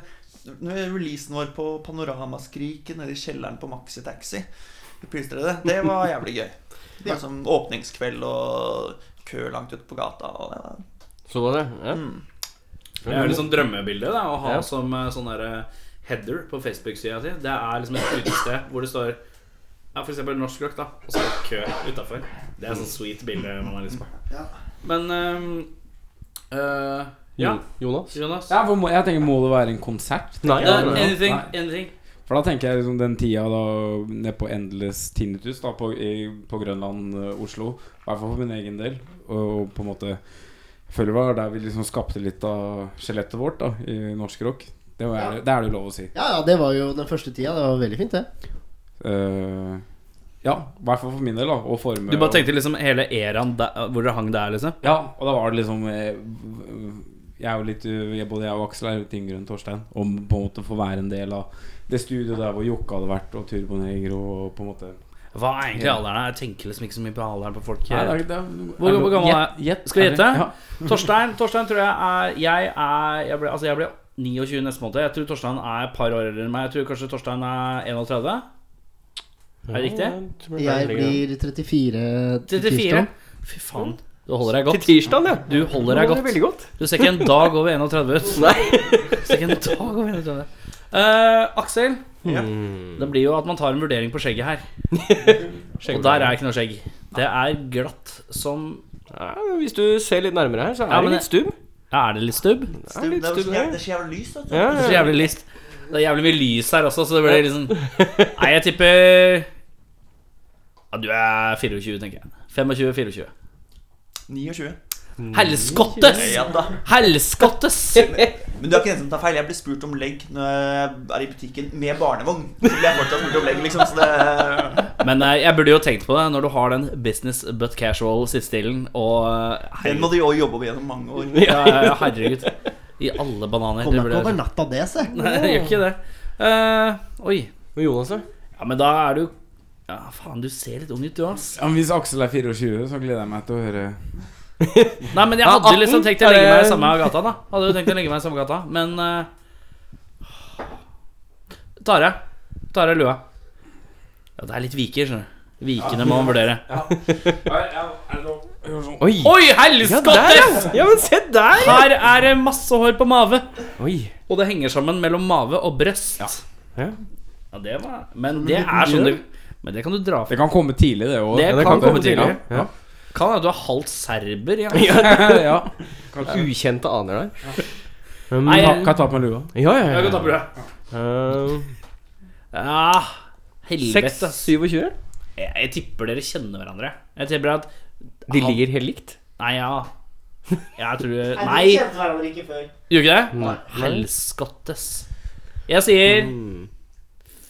når releasen vår på Panoramaskriket nede i kjelleren på Maxi Taxi i Pilstredet, det var jævlig gøy. Det var sånn åpningskveld og kø langt ute på gata. Og det var,
Så du det? Ja.
Det er jo liksom drømmebildet da, å ha
Ja.
som eh, sånn der eh, header på Facebook-sida si. Det er liksom et utested hvor det står ja, for eksempel norsk rock, da, og så er det kø utafor. Det er sånn sweet bilde man har lyst på. Men eh, eh, Ja,
Mm. Jonas?
Jonas?
Ja, for må, jeg tenker må det være en konsert? tenker
Nei,
jeg.
Det er anything,
Nei.
anything.
For da tenker jeg liksom den tida da nede på Endless Tinnitus da, på, i, på Grønland, eh, Oslo. I hvert fall for min egen del. Og, og på en måte jeg føler det var der vi liksom skapte litt av skjelettet vårt da, i norsk rock. Det, var,
Ja.
det er det jo lov å si.
Ja, ja, det var jo den første tida. Det var veldig fint, det.
Eh, ja, i hvert fall for min del. da Og forme
Du bare
og-
tenkte liksom hele eraen der, hvor det hang der, liksom?
Ja, og da var det liksom eh, jeg er jo litt, jeg, Både jeg og Aksel er jo litt yngre enn Torstein. Om på en måte få være en del av det studioet der hvor Jokke hadde vært, og Turbonegro og på en måte
Hva er egentlig alderen? her? Jeg tenker liksom ikke så mye på alderen på folk.
Nei,
her.
det er- det er-
Hvor- hvor gammel er-
Gjett- gjett.
Skal vi gjette?
Ja.
Torstein, Torstein tror jeg er Jeg er jeg ble, Altså jeg ble 29 neste måned. Jeg tror Torstein er et par år eldre enn meg. Jeg tror kanskje Torstein er 31. Er det riktig?
Jeg blir 34
34.
til tirsdag.
Fy faen. Du holder deg godt.
tirsdag, ja.
Du holder deg godt.
Veldig godt.
Du ser ikke en dag over 31 ut. Nei. Du ser ikke en dag over 31. Eh, Aksel,
ja.
det blir jo at man tar en vurdering på skjegget her. Og der er ikke noe skjegg. Det er glatt som
Ja, hvis du ser litt nærmere her, så er
Ja, men
det litt stubb.
Ja, Er det litt stubb?
Det er
Det
litt
er jo
stubb
så
her.
jævlig, det er så jævlig altså. lys, vet du.
Ja,
Det er så
ja.
jævlig lyst. Det er jævlig mye lys her også, så det blir liksom Nei, jeg tipper Ja, du er 24, tenker jeg. 25-24.
29.
Helskottes!
Eh, Ja da.
Helskottes!
Men du er ikke den som tar feil. Jeg blir spurt om legg når jeg er i butikken med barnevogn. Så blir jeg fortsatt spurt om legg, liksom. Så det
Men eh, jeg burde jo tenkt på det når du har den business but casual sittestilen og eh,
Den må du jo jobbe med gjennom mange år.
Ja, ja, ja, herregud. I alle bananer.
Kommer
Det
jeg ikke over
burde...
natta, det, se.
Nei, jeg gjør ikke det. Eh, oi.
Men Jonas, da?
Ja, men da er du Ja, faen, du ser litt ung ut, du, ass.
Ja, men Hvis Aksel er 24, så gleder jeg meg til å høre
Nei, men jeg
Ja,
hadde liksom
18,
tenkt å legge
er
meg i
det-
samme gata, da. Hadde jo tenkt å legge meg i samme gata, men eh, Tare. Tare Lua. Ja, det er litt viker, skjønner du. Vikene må man vurdere.
Oi!
Oi, helskottes!
Ja, men se der!
Her er det masse hår på mave.
Oi.
Og det henger sammen mellom mave og brøst.
Ja.
Ja, det var Men det er sånn du Men det kan du dra fra.
Det kan komme tidlig, det òg.
Det
Ja, det
kan
kan
komme
komme tidlig.
tidlig.
Ja.
Kan hende du er halvt serber. Ja.
ja.
Ukjente aner der. Um,
Nei,
Kan kan jeg ta på meg lua?
ja, ja,
Jeg
ja.
kan ta på det.
Uh,
Ja, helvete.
6, 27?
Jeg, jeg tipper dere kjenner hverandre. Jeg tipper at
De
han-
ligger helt likt?
Nei, ja. Jeg tror
Nei,
Nei,
vi kjente hverandre ikke før.
gjør ikke det? Helskottes. Jeg sier
Mm.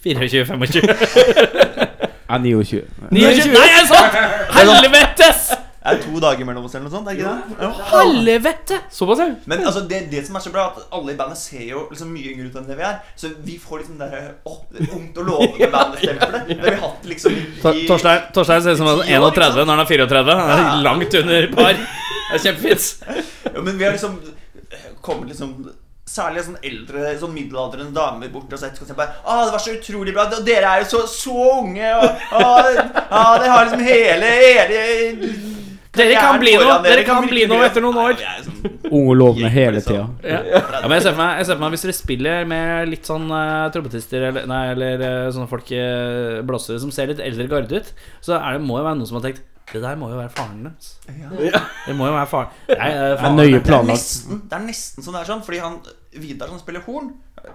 24-25.
Jeg er 29.
29. Nei, jeg satt! sånn- Helvetes!
Det er to dager mellom oss eller noe sånt, er det ikke det? Jo.
Helvete!
Såpass, ja.
Men altså, det, det som er så bra, er at alle i bandet ser jo liksom mye yngre ut enn det vi er. Så vi får liksom det der Å, det er ungt og lovende bandstempelet. Det har vi hatt liksom i
Tor- Torstein, Torstein ser ut som han er 31 når han er 34. Han er
Ja.
langt under par. Det er kjempefint.
Ja, men vi har liksom kommet liksom Særlig sånn eldre, sånn middelaldrende damer bort og sett og bare ah, 'Det var så utrolig bra. Og dere er jo så, så unge.' Og, ah, ah, 'Dere har liksom hele, hele
Dere kan bli noe Dere kan bli noe etter noen år.
Ja, sånn,
Unge og lovende hele tida.
Ja. Ja, men jeg ser for meg, jeg ser for meg hvis dere spiller med litt sånn uh, trompetister eller, nei, eller eh, sånne folk eh, blåsere som ser litt eldre garde ut, så er det, må jo være noen som har tenkt Det der må jo være faren deres. Det må jo være faren Nei, eh,
Det er
faren
nøye
det, er
planlagt.
nesten, det er nesten sånn det er sånn, fordi han Vidar som spiller horn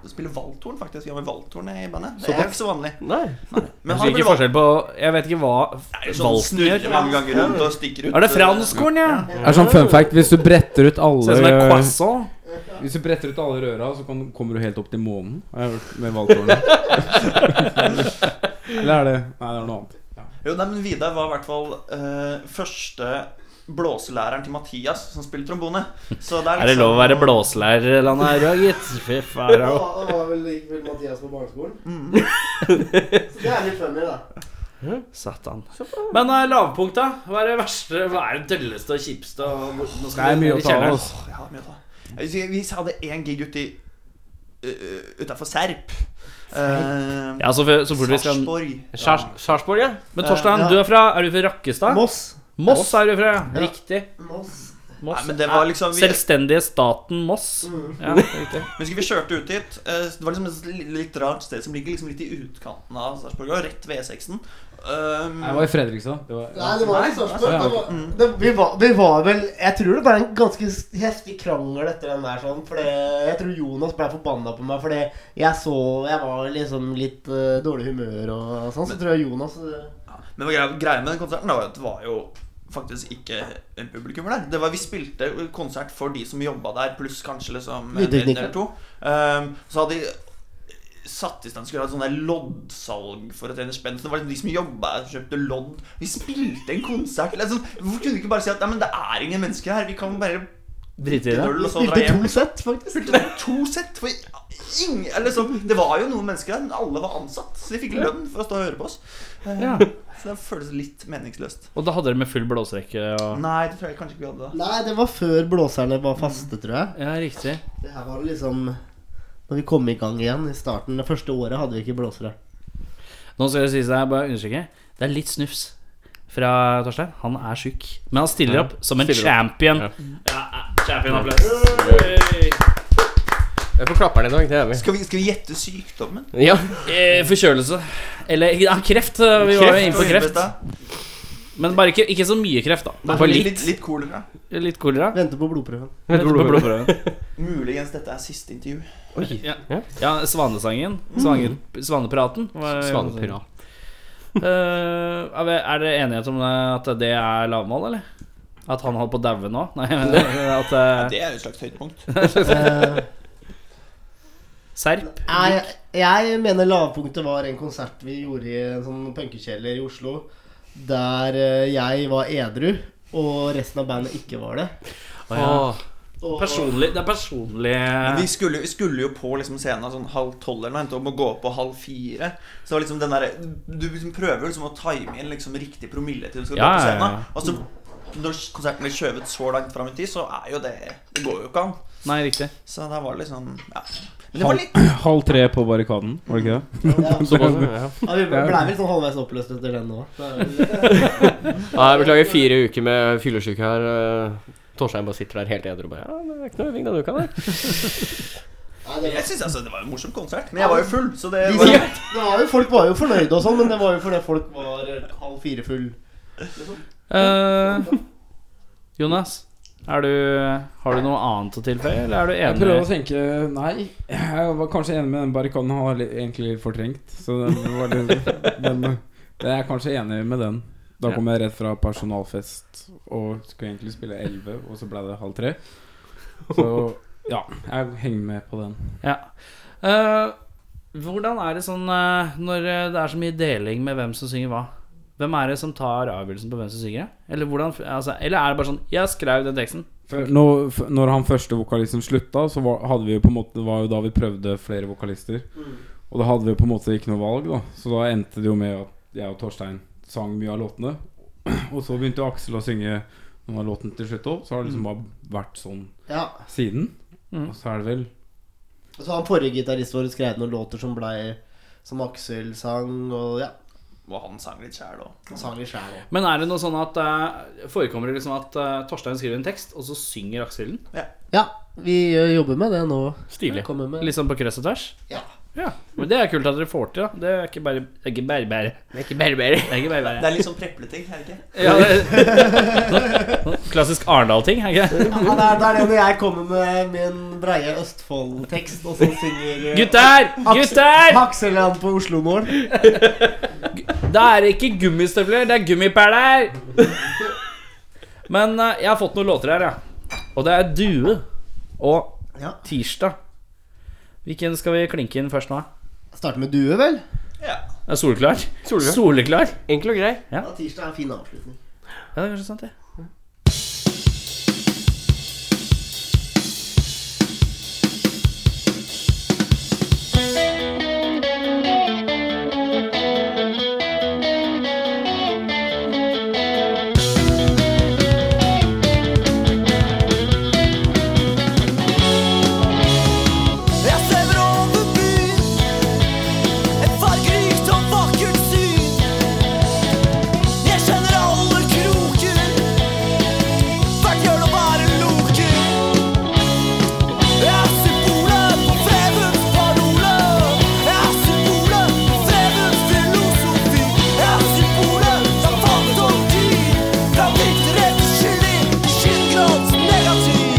Spiller valthorn, faktisk. Vi har med valthorn i bandet. Det er ikke så vanlig.
Nei.
Men
Jeg husker ikke forskjell på Jeg vet ikke hva
er jo sånn
valsen gjør.
snurrer mange ganger rundt og stikker ut.
Er det franskhorn, ja?
Det er sånn fun fact. Hvis du bretter ut
Ser ut som en
alle
croissant.
Hvis du bretter ut alle røra, så kan, kommer du helt opp til månen. Har jeg hørt med valgtårnet. Eller er det Nei, det er noe annet.
Jo, nei, men Vidar var i hvert fall eh, første blåselæreren til Mathias som spiller trombone. Så det er,
Er
liksom-
det lov å være blåselærer eller noe her, gitt? Fy faen.
Ja, Mm. det var vel, gikk vel Mathias på barneskolen. Så det er litt funny, da.
Satan. Men eh, lavpunkt, da? Hva er det verste? Hva er det dølleste og kjipeste? Og hvor- nå skal
Det er
vi
mye
ned i
å ta
kjelleren.
av. ass.
Åh, jeg har mye å ta. Jeg husker Vi hadde én gig uti uh, utafor Serp. Uh,
Ja, så, f- så fort vi skal
Sarpsborg.
Sars- Sarpsborg, ja.
Men Torstein,
Ja.
du er fra Er du fra Rakkestad?
Moss.
Moss er du fra, ja. Riktig.
Moss.
Nei,
Moss.
men det var liksom vi,
Selvstendige staten Moss.
Mm.
Ja, riktig.
husker vi kjørte ut dit. eh, det var liksom et li- litt rart sted som ligger liksom litt i utkanten av Sarpsborg. og Rett ved E E6-en. Um,
Jeg var i Fredrikstad. Det var,
Nei, det var ikke
Nei,
Sarpsborg. Det var- det- Vi, var- vi var vel Jeg tror det ble en ganske heftig krangel etter den der sånn. For det- jeg tror Jonas ble forbanna på meg fordi jeg så Jeg var liksom litt eh, dårlig humør og sånn. Så tror jeg Jonas eh,
Men greia, greia med den konserten da, var jo at det var jo faktisk ikke en publikum der. Det var, vi spilte konsert for de som jobba der, pluss kanskje liksom en
Lydteknikere.
eller to. Ehm, så hadde de satt i stand skulle ha et sånn der loddsalg for å tjene spenn. Så det var liksom de som jobba her, som kjøpte lodd. Vi spilte en konsert liksom, Hvorfor kunne vi ikke bare si at Nei, men det er ingen mennesker her? Vi kan bare
Drite i
drikke
det.
en øl
Vi
og så dra
spilte
hjem.
to sett, faktisk.
Spilte to sett for ingen eller liksom, Det var jo noen mennesker der, men alle var ansatt. Så de fikk lønn for å stå og høre på oss. Ehm,
Ja.
Så det føles litt meningsløst.
Og da hadde dere med full blåserekke og
Nei, det tror jeg kanskje ikke vi hadde da.
Nei, det var før blåserne var faste, tror jeg.
Ja, riktig.
Det her var liksom Når vi kom i gang igjen i starten. Det første året hadde vi ikke blåsere.
Nå skal det sies jeg bare understreke. Det er litt snufs fra Torstein. Han er sjuk. Men han stiller opp som en
Stiller
champion.
Ja.
Ja, Champion-applaus.
Jeg får klapper'n i dag. Det er vi.
Skal vi, skal vi gjette sykdommen?
Ja.
Eh, Forkjølelse. Eller ja, kreft. eh, Vi var jo inne på kreft. Men bare ikke, ikke så mye kreft, da.
Bare litt. litt. Litt kolera.
Litt kolera.
Venter på blodprøven.
Vent på blodprøven.
Muligens dette er siste intervju.
Ja. ja, Svanesangen. Svanger, svanepraten. var-
Svanepirat.
Eh, er vi- er det enighet om det, at det er lavmål, eller? At han holdt på å daue nå? Nei, men at eh,
Det er jo et slags høydepunkt.
Eh,
Serp?
Nei, jeg mener lavpunktet var en konsert vi gjorde i en sånn punkekjeller i Oslo. Der eh, jeg var edru, og resten av bandet ikke var det.
Åh,
Og,
Personlig, det er personlig
Vi skulle, vi skulle jo på liksom scenen sånn halv tolv eller noe, endte opp med å gå på halv fire. Så det var liksom den der, Du liksom prøver jo liksom å time inn liksom riktig promille til du skal
Ja,
gå på
ja,
scenen. Og så når konserten blir skjøvet så langt fram i tid, så er jo det Det går jo ikke an.
Nei, riktig.
Så der var det liksom Ja. Men det var litt
Halv tre på Barrikaden, var det ikke det?
Ja,
såpass, ja.
ja, vi ble vel sånn halvveis oppløst etter den òg.
Ja, jeg beklager fire uker med fyllesyke her. eh, Torstein bare sitter der helt edru og bare Ja, det er ikke noe øving denne uka, der.
Jeg synes altså det var en morsom konsert. Men jeg var jo full, så det
De,
var jo
det var jo, folk var jo fornøyde og sånn, men det var jo fordi folk var halv fire full.
Eh, Jonas, er du, har du noe annet å tilføye, eller er du
Jeg prøver å
enig?
tenke Nei, jeg var kanskje enig med den barrikaden. Han var litt- egentlig litt fortrengt. Så den var litt, den, jeg er kanskje enig med den. Da kom jeg rett fra personalfest og skulle egentlig spille 11, og så ble det halv tre. Så ja, jeg henger med på den.
Ja. Eh, hvordan er det sånn eh, når eh, det er så mye deling med hvem som synger hva? Hvem er det som tar avgjørelsen på hvem som synger? det? Eller, hvordan, altså, eller er det bare sånn Jeg skrev den teksten.
For når, for når han første vokalisten slutta, så var, hadde vi jo på en måte Det var jo da vi prøvde flere vokalister. Og da hadde vi på en måte ikke noe valg, da. Så da endte det jo med at jeg og Torstein sang mye av låtene. Og så begynte jo Aksel å synge noen av låtene til slutt òg. Så har det liksom bare vært sånn
Ja,
siden.
Mm.
Og så er det vel
og Så han forrige gitarist vår skrev noen låter som blei som Aksel sang, og ja,
Og han sang litt sjæl òg.
han sang litt sjæl òg.
Men er det noe sånn at eh, forekommer det liksom at eh, Torstein skriver en tekst, og så synger Aksel den?
Ja, vi ø, jobber med det nå.
Stilig.
Kommer med
Liksom på kryss og tvers?
Ja.
Ja, Men det er kult at dere får til, da. Det er ikke bare Det er ikke bare bare. Det er ikke bare bare. Det er ikke bare
Det
bare.
er litt sånn prepleting, er det ikke?
Ja, det, klassisk Arendal-ting, er ikke det?
Ja, det, er, det er det når jeg kommer med min breie Østfold-tekst, og så synger eh,
Gutter! Gutter!
Hakseland på Oslo-mål.
Det er ikke gummistøvler, det er gummipæler! Men eh, jeg har fått noen låter her, ja. Og det er Due og
Ja.
Tirsdag. Hvilken skal vi klinke inn først nå?
Starter med due, vel?
Det er Soleklar? Soleklar?
Enkel og grei.
Ja, Tirsdag er en fin avslutning.
Ja, det er kanskje sant, det.
Jeg svever over byen. Et fargerikt og vakkert syn. Jeg kjenner alle kroker. Hvert hjørne og bare loker. Jeg ser bordet på Fredens parole. Jeg ser bordet på Fredens filosofi. Jeg ser bordet fra fantasi. Fra bitterhet til kylling. Skinnglatt negativ.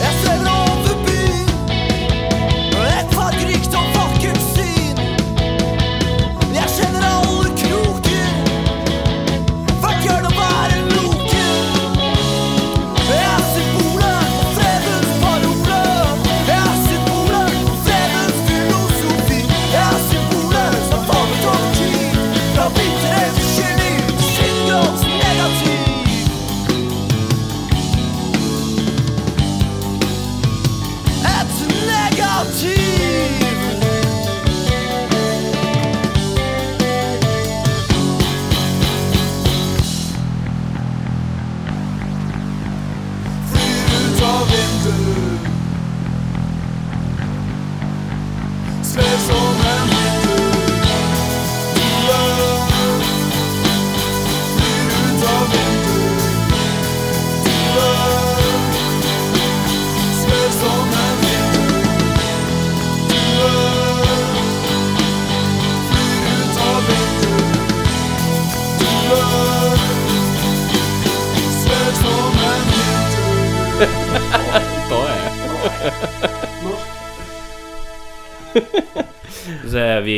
Jeg svever over byen Et fargerikt og vakkert syn Jeg kjenner alle kroker Hvert hjørne og hver en loke Jeg ser bordet på fredens parole Jeg ser bordet på fredens filosofi Jeg ser bordet som farget og tid Fra bitterhet til kylling Skittgrått negativ Et negativ
Så vi,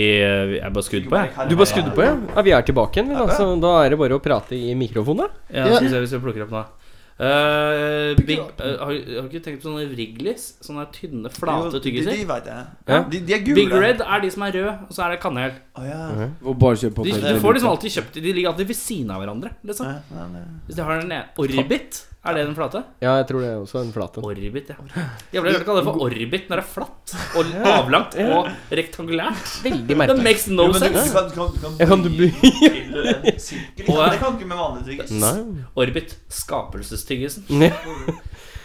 vi er bare skudd på, jeg.
Du bare skrudde på, ja? ja? Vi er tilbake igjen, vi, da. Så da er det bare å prate i mikrofonen, da.
Ja,
Ja.
Skal vi se hvis vi plukker opp nå. Eh, big, eh, har, har du ikke tenkt på sånne Wrigleys? Sånne tynne, flate
De,
tyggiser?
de vet jeg.
Ja.
De, de er gule.
Big Red er de som er røde, og så er det kanel.
Å, ja.
Og bare kjøp på
De,
Pepsi.
du får
sånn.
liksom alltid kjøpt De ligger alltid ved siden av hverandre. Liksom.
Ja, ja, ja.
Hvis de har en ene- Orbit, er det den flate?
Ja, jeg tror det er også en flat en.
Orbit, ja. Jævla rart å kalle det for orbit når det er flatt og avlangt og rektangulært.
Veldig
That
merkelig.
makes no
Jo, men du-
sense.
Du kan, du kan, du kan
Jeg kan du bli
til en sirkel.
Å, ja.
Det kan du ikke med vanlige tryggis.
Nei.
Orbit. Skapelsestyggisen.
Ja.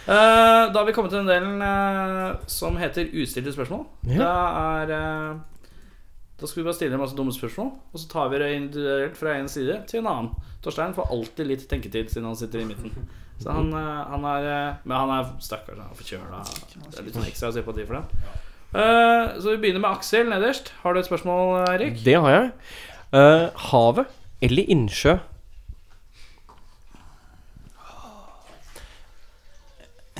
Eh, da har vi kommet til den delen eh, som heter ustilte spørsmål.
Ja.
Da er eh, Da skal vi bare stille en masse dumme spørsmål, og så tar vi det individuelt fra en side til en annen. Torstein får alltid litt tenketid siden han sitter i midten. Så han, eh, han er eh, Men han er stakkars, han er forkjøla. Det er litt sånn ekstra sympati for den. Eh, så vi begynner med Aksel nederst. Har du et spørsmål, Erik?
Det har jeg. Eh, havet eller innsjø?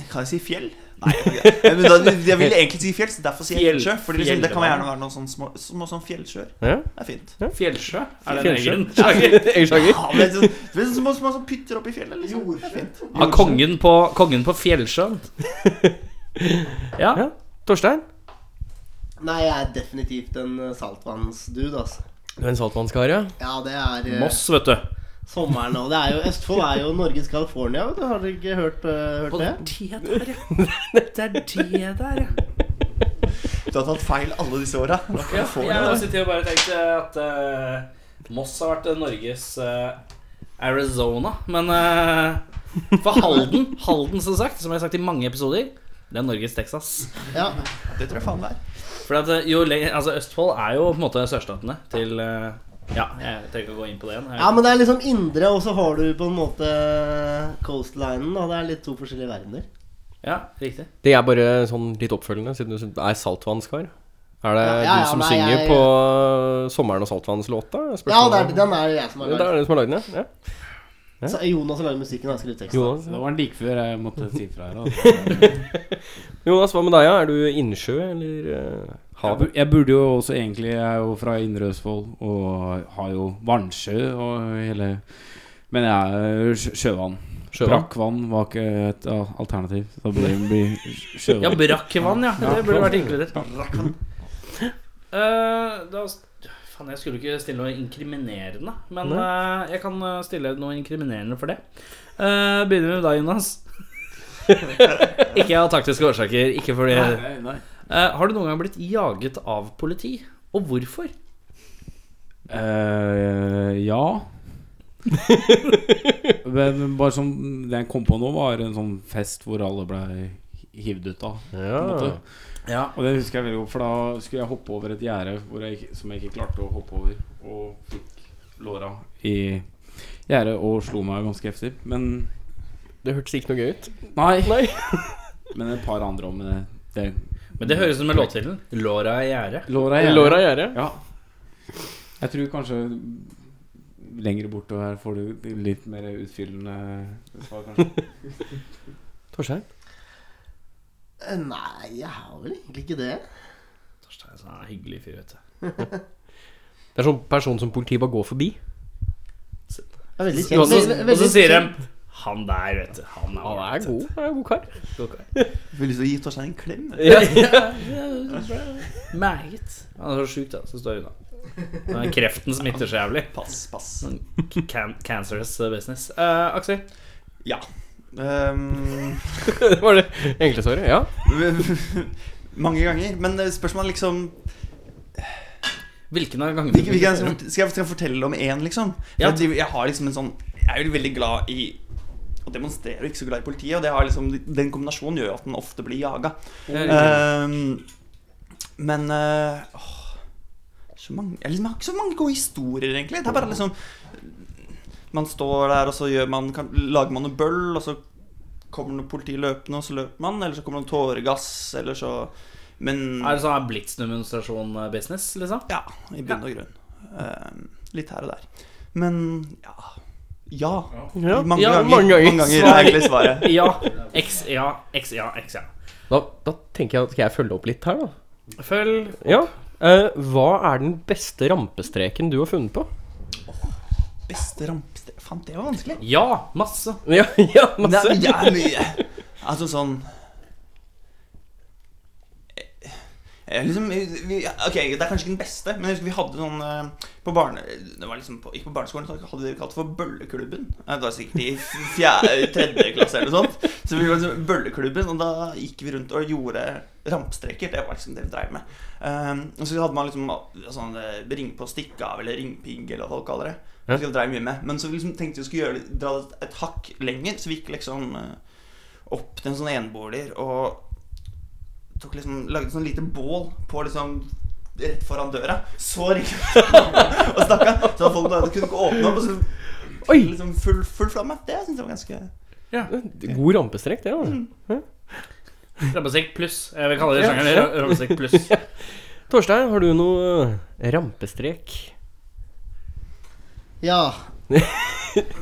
Kan jeg si fjell? Nei, jeg, men da, jeg ville egentlig si fjell, så derfor sier jeg
Fjell.
fjellsjø. Fordi liksom, det kan
Fjellvann.
gjerne være noen sånne små, små sånn fjellsjøer.
Ja.
Det er fint.
Fjellsjø? Er det en
Fjellsjø?
egen sjanger?
Jeg sjanger.
Ja, men det er sånn, det er sånn små, små som pytter oppi fjellet. Liksom. Det er fint.
Av kongen på, kongen på Fjellsjøen? Ja.
Ja. Torstein?
Nei, jeg er definitivt en eh, saltvannsdude, altså.
Du er en saltvannskar, ja?
Ja, det er eh,
Moss, vet du.
sommeren og Det er jo Østfold er jo Norges California, vet du. Har dere ikke hørt, eh, hørt det?
det der, ja. Det er det der, ja.
Du har tatt feil alle disse åra.
Ja, jeg har sittet og bare tenkt eh, at eh, Moss har vært eh, Norges eh, Arizona. Men eh, for Halden, Halden som sagt, som jeg har sagt i mange episoder, det er Norges Texas.
Ja.
Det tror jeg faen det er.
For at, eh, jo lenger, altså Østfold er jo på en måte sørstatene til eh, Ja, jeg trenger ikke å gå inn på det igjen. Jeg-
ja, men det er liksom indre, og så har du på en måte eh, coastlinen. Da. Det er litt to forskjellige verdener.
Ja, riktig.
Det er bare sånn litt oppfølgende, siden du er saltvannskar. Er det
Ja, ja, ja,
du som
nei,
synger
jeg-
på Eh, Sommeren og saltvannslåta? Spørsmålet-
Ja, det er, den er det jeg som har
Ja, det
lagd.
er det som har lagd den, ja.
Så Jonas har lagd musikken, og jeg har skrevet teksten.
Jonas,
Det var den like før jeg måtte si fra her. altså.
Jonas, hva med deg? ja? Er du innsjø eller eh,
Jeg
havet?
bur- Jeg burde jo også egentlig Jeg er jo fra Indre Østfold og har jo vannsjø og hele Men jeg er sjø- sjøvann.
Sjøvann?
Brakkvann var ikke et ja, alternativ. Så det blir sjøvann.
Ja, brakkvann, ja. Det burde vært inkludert. Eh, da Faen, jeg skulle ikke stille noe inkriminerende, men eh, jeg kan eh, stille noe inkriminerende for det. Eh, begynner vi med deg, Jonas. ikke av taktiske årsaker, ikke fordi Eh, Har du noen gang blitt jaget av politi? Og hvorfor?
Eh, ja. Men bare som det jeg kom på nå, var en sånn fest hvor alle ble hivd ut av. på en måte.
Ja.
Og det husker jeg veldig godt, for da skulle jeg hoppe over et gjerde hvor jeg ikke- som jeg ikke klarte å hoppe over, og fikk låra i gjerdet og slo meg ganske heftig. Men
Det hørtes ikke noe gøy ut.
nei.
Nei.
Men et par andre om det. det.
Men det høres ut som en låttittelen. 'Låra i gjerdet'.
Låra i gjerdet.
Låra i gjerdet.
Ja. Jeg tror kanskje lenger bortover her får du litt mer utfyllende svar, kanskje.
Torstein?
Eh, Nei, jeg har vel egentlig ikke det.
Torstein er en sånn hyggelig fyr, vet du.
Det er sånn person som politiet bare går forbi.
Det er veldig
Og
kjent.
så,
Veldig-
og så
veldig
sier de
kjent.
'Han der, vet du. Han er
Han er
ålreit.»
god. Han Oh, er en god kar.
Jeg får lyst til å gi Torstein en klem.
Eh. Meget. Han er så sjuk, da. Så står hun da. Den kreften smitter så jævlig. Sånn
Pass, pass.
Can cancerous business. Eh, Aksel?
Ja. Ehm,
Det var det enkle svaret. Ja.
mange ganger. Men eh, spørsmålet er liksom
Hvilken av gangene
Hvilke, hvilke, skal, jeg, skal jeg fortelle om én, liksom? For
Ja.
Jeg, driver, jeg har liksom en sånn Jeg er jo veldig glad i å demonstrere, og ikke så glad i politiet. Og det har liksom, den kombinasjonen gjør jo at den ofte blir jaga.
Eh,
Ehm, men eh, åh, så mange, jeg, liksom, jeg har ikke så mange gode historier, egentlig. Det er bare liksom Man står der, og så gjør man, kan, lager man noe bøll, og så kommer noe politi løpende, og så løper man. Eller så kommer det noe tåregass, eller så Men
Er det sånn her blitsdemonstrasjon-business, liksom?
ja, i bunn og grunn. Ehm, litt her og der. Men ja. Ja.
Ja,
mange,
ja,
ganger,
mange ganger.
mange ganger er egentlig svaret.
Ja. X, ja. X, ja. X, ja.
Da, da tenker jeg at skal jeg følge opp litt her, da.
Følg
Ja. Eh, hva er den beste rampestreken du har funnet på?
Beste rampestre... Faen, det var vanskelig.
Ja, masse.
Ja, ja masse.
Nei, det er mye. Altså sånn Jeg- jeg Liksom, vi, ok, Det er kanskje ikke den beste, men jeg husker vi hadde sånn eh, på barne... Det var liksom på, ikke på barneskolen, så hadde de kalt det for Bølleklubben. Eh, Det var sikkert i fjerde, tredje klasse eller noe sånt. Så vi var liksom Bølleklubben, og da gikk vi rundt og gjorde rampestreker. Det var liksom det vi dreiv med. Eh, og så hadde man liksom eh, sånn eh, ring på stikke av, eller ringpigg, eller hva folk kaller det.
Ja.
Så jeg drev mye med. Men så liksom tenkte vi skulle gjøre, det- dra det et hakk lenger, så vi gikk liksom eh, opp til en sånn eneboliger og tok liksom, lagde sånn lite bål på liksom rett foran døra. Så ringte og snakka, så at folk da kunne ikke åpne opp. Og så
Oi!
liksom full, full flamme. Det syns jeg var ganske
God rampestrek, det. da.
Rammesekk pluss. Jeg vil kalle det sjangeren ra- rammesekk pluss.
Torstein, har du noe eh, rampestrek?
Ja.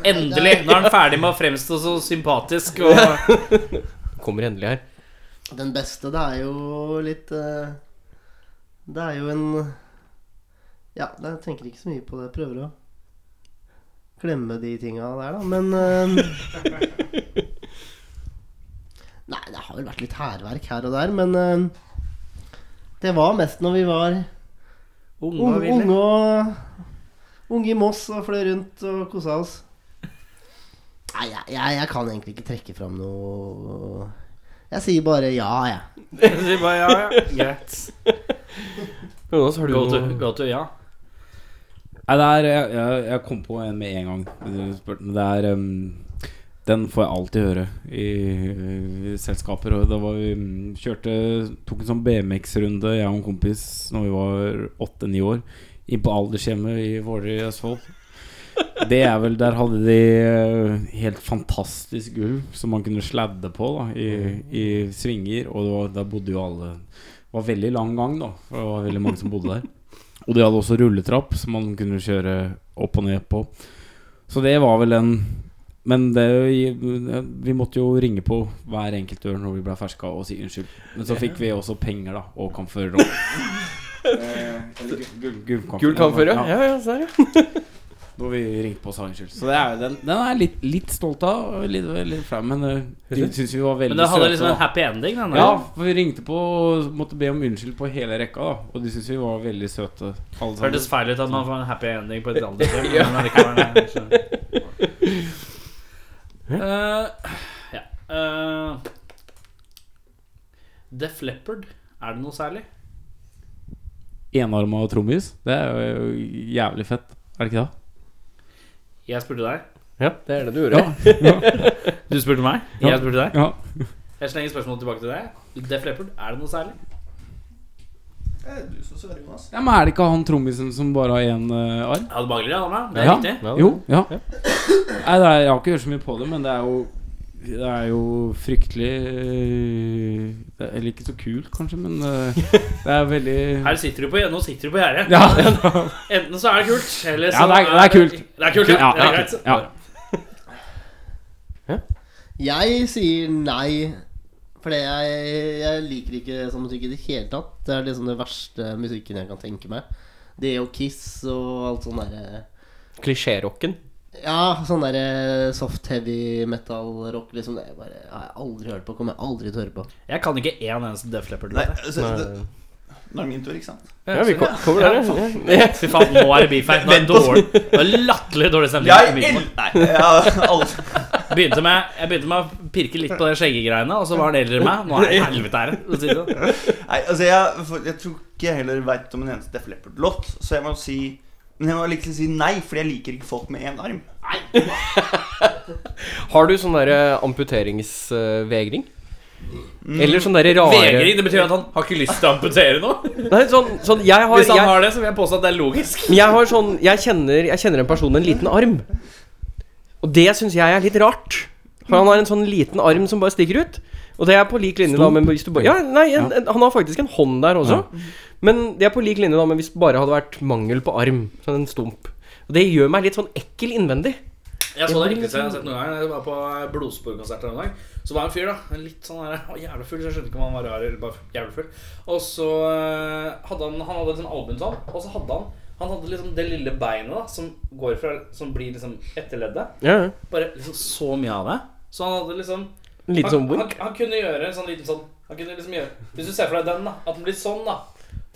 Endelig! Nå er han ferdig med å fremstå så sympatisk og
Kommer endelig her.
Den beste, det er jo litt eh, Det er jo en Ja, jeg tenker ikke så mye på det. Jeg prøver å glemme de tinga der, da. Men eh, Nei, det har vel vært litt hærverk her og der, men eh, det var mest når vi var
Unge og
unge, unge,
ville.
og, unge i Moss og fløy rundt og kosa oss. Nei, jeg, jeg, jeg kan egentlig ikke trekke fram noe Jeg sier bare ja, jeg.
Så bare, ja, ja, greit.
Jonas, har du
Go to,
noe
go to ja.
Nei, det er jeg, jeg, jeg kom på en med en gang. Du spurte, men det er ehm, Den får jeg alltid høre i, eh, selskaper. Og da var vi mm, kjørte Tok en sånn BMX-runde, jeg og en kompis, når vi var åtte-ni år. Inn på aldershjemmet i Våler i Østfold. Det er vel Der hadde de eh, helt fantastisk gulv som man kunne sladde på da i, i svinger. Og det var, der bodde jo alle Det var veldig lang gang, da. For det var veldig mange som bodde der. Og de hadde også rulletrapp som man kunne kjøre opp og ned på. Så det var vel en Men det, vi måtte jo ringe på hver enkelt dør når vi ble ferska og si unnskyld. Men så fikk vi også penger, da, og kamfer. og- Eh, eller gu- gu- Gullkamfer.
Gul kamfer, ja? Ja, ja, der, ja.
Når vi ringte på og sa unnskyld. Så det er, jo den, den er jeg litt, litt stolt av. og Litt, litt flau, men eh, de syns vi var veldig
Men det hadde
søte,
liksom en
da.
happy ending. Den, der.
Ja, for vi ringte på og måtte be om unnskyld på hele rekka, da. Og de syntes vi var veldig søte. Alle sammen.
Hørtes feil ut at man får en happy ending på et random ja. men allikevel, nei, jeg skjønner. Eh, ja. eh, Def Leppard, er det noe særlig?
enarma trommis. Det er jo jævlig fett, er det ikke det?
Jeg spurte deg.
ja, det er det du gjorde.
Du spurte meg.
Ja.
Jeg spurte deg.
Ja.
Jeg slenger spørsmålet tilbake til deg. Def Leppard, er det noe særlig?
Eh, Du som svarer, Jonas.
men er det ikke han trommisen som bare har én eh, arm?
Ja, det bagler i Anna. Det er
ja.
riktig.
Ja, det er
Jo. Ja. Nei, det er, jeg har ikke hørt så mye på det, men det er jo det er jo fryktelig eh, det er- Eller ikke så kult, kanskje, men eh, det er veldig
Her sitter du på, nå sitter du på gjerdet.
Ja,
Enten så er det kult, eller så
Ja, det er- det er kult.
Det er kult, ja.
ja,
Det er greit.
ja.
Jeg sier nei, for det jeg, jeg liker ikke sånn musikk i det hele tatt. Det er liksom det verste musikken jeg kan tenke meg. Det og Kiss og alt sånn derre
Klisjérocken.
Ja, sånn derre soft heavy metal-rock, liksom. Det er bare, jeg har jeg aldri hørt på. Kommer jeg aldri til å høre på.
Jeg kan ikke én eneste Def Leppard.
Nei, altså, det, nå er det min tur, ikke sant?
Ja, vi kom- kommer der, ja. ja.
Fy faen, nå er det beef her. Nå er det dårlig. Det var latterlig dårlig stemning.
Jeg el... Nei, jeg har aldri
begynte med, jeg begynte med å pirke litt på de skjeggegreiene, og så var han eldre enn meg. Nå er jeg i helvete her. for å si det sånn.
Nei, altså jeg, for, jeg tror ikke jeg heller veit om en eneste Def Leppard-låt, så jeg må si Men jeg må liksom si nei, fordi jeg liker ikke folk med én arm.
Har du sånn derre amputeringsvegring? Eller sånn derre rare
Mm. Vegring, det betyr at han har ikke lyst til å amputere noe.
Nei, sånn, sånn jeg, har,
Hvis han
jeg,
har det, så vil jeg påstå at det er logisk.
jeg har sånn Jeg kjenner, jeg kjenner en person med en liten arm. Og det syns jeg er litt rart. For han har en sånn liten arm som bare stikker ut. Og det er på lik linje da med hvis du bare Ja, nei, en, en, han har faktisk en hånd der også. Men det er på lik linje da med hvis det bare hadde vært mangel på arm. Sånn en stump. Og det gjør meg litt sånn ekkel innvendig.
Jeg så det riktigste jeg har sett noen gang. Jeg var på Blodsporkonsert en dag. Så var det en fyr, da. En litt sånn der, å, jævlig full. Så jeg skjønte ikke om han var rar eller bare jævlig full. Og så eh, hadde han Han hadde liksom albumsal, og så hadde han han hadde liksom det lille beinet da som, går fra, som blir liksom etterleddet.
Ja, ja.
Bare liksom så mye av det. Så han hadde liksom
Litt sånn
han, han,
wink.
han kunne gjøre en sånn liten sånn Han kunne liksom gjøre Hvis du ser for deg den, da. At den blir sånn, da.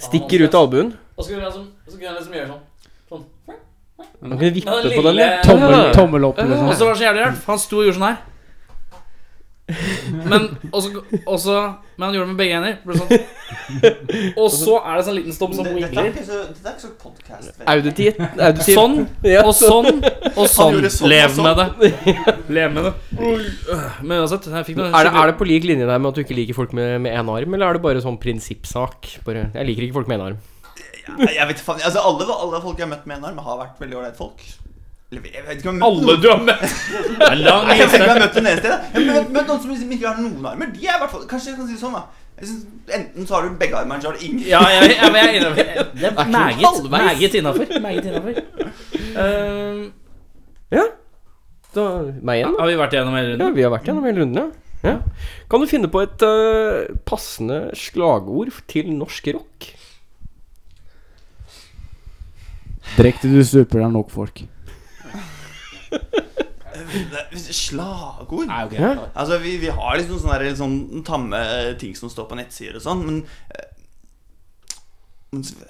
Stikker ut av albuen.
Og så kunne han liksom, så kunne han liksom gjøre sånn.
Man kunne vippe
Den
på den.
lille-
ja.
Tommel, tommel opp,
liksom.
eller
Og
sånn.
så var det så jævlig rart, for han sto og gjorde sånn her. Men også, også Men han gjorde det med begge hender. Ble sånn. Og så er det sånn liten stopp som
Dette er
wiggler.
ikke så, dette er ikke så podcast
Auditivt. auditivt.
Sånn
Ja.
og sånn og sånn.
gjorde sånn og
Lev
sånn.
med det. Lev med det. Men uansett, jeg fikk noe
Er det, er det på lik linje der med at du ikke liker folk med, med én arm, eller er det bare sånn prinsippsak? Bare, jeg liker ikke folk med én arm.
Nei, jeg vet faen altså, alle, alle folk jeg har møtt med en arm, har vært veldig ålreite folk. Eller, jeg vet ikke om jeg har møtt
Alle du har møtt. Det er lang
Nei, jeg vet ikke om jeg
liste.
har møtt en eneste. da. Jeg har møtt- møtt noen som liksom ikke har noen armer. De er i hvert fall Kanskje jeg kan si det sånn, da. Jeg synes, enten så har du begge armer, eller så har du ingen.
Ja, jeg, jeg, jeg, jeg innrømmer det. er Meget,
halvveis.
meget innafor. Meget innafor. Eh,
Ja. Da, meg igjen, da.
har vi vært gjennom hele
Ja,
runden?
vi har vært gjennom hele runden, ja. ja. Kan du finne på et eh, passende slagord til norsk rock?
Drekk til du stuper, det er nok folk.
Nei, Slagord?
Nei, ok.
Ja.
Altså, vi, vi har liksom sånne der, litt sånn tamme ting som står på nettsider og sånn, men eh, Men så-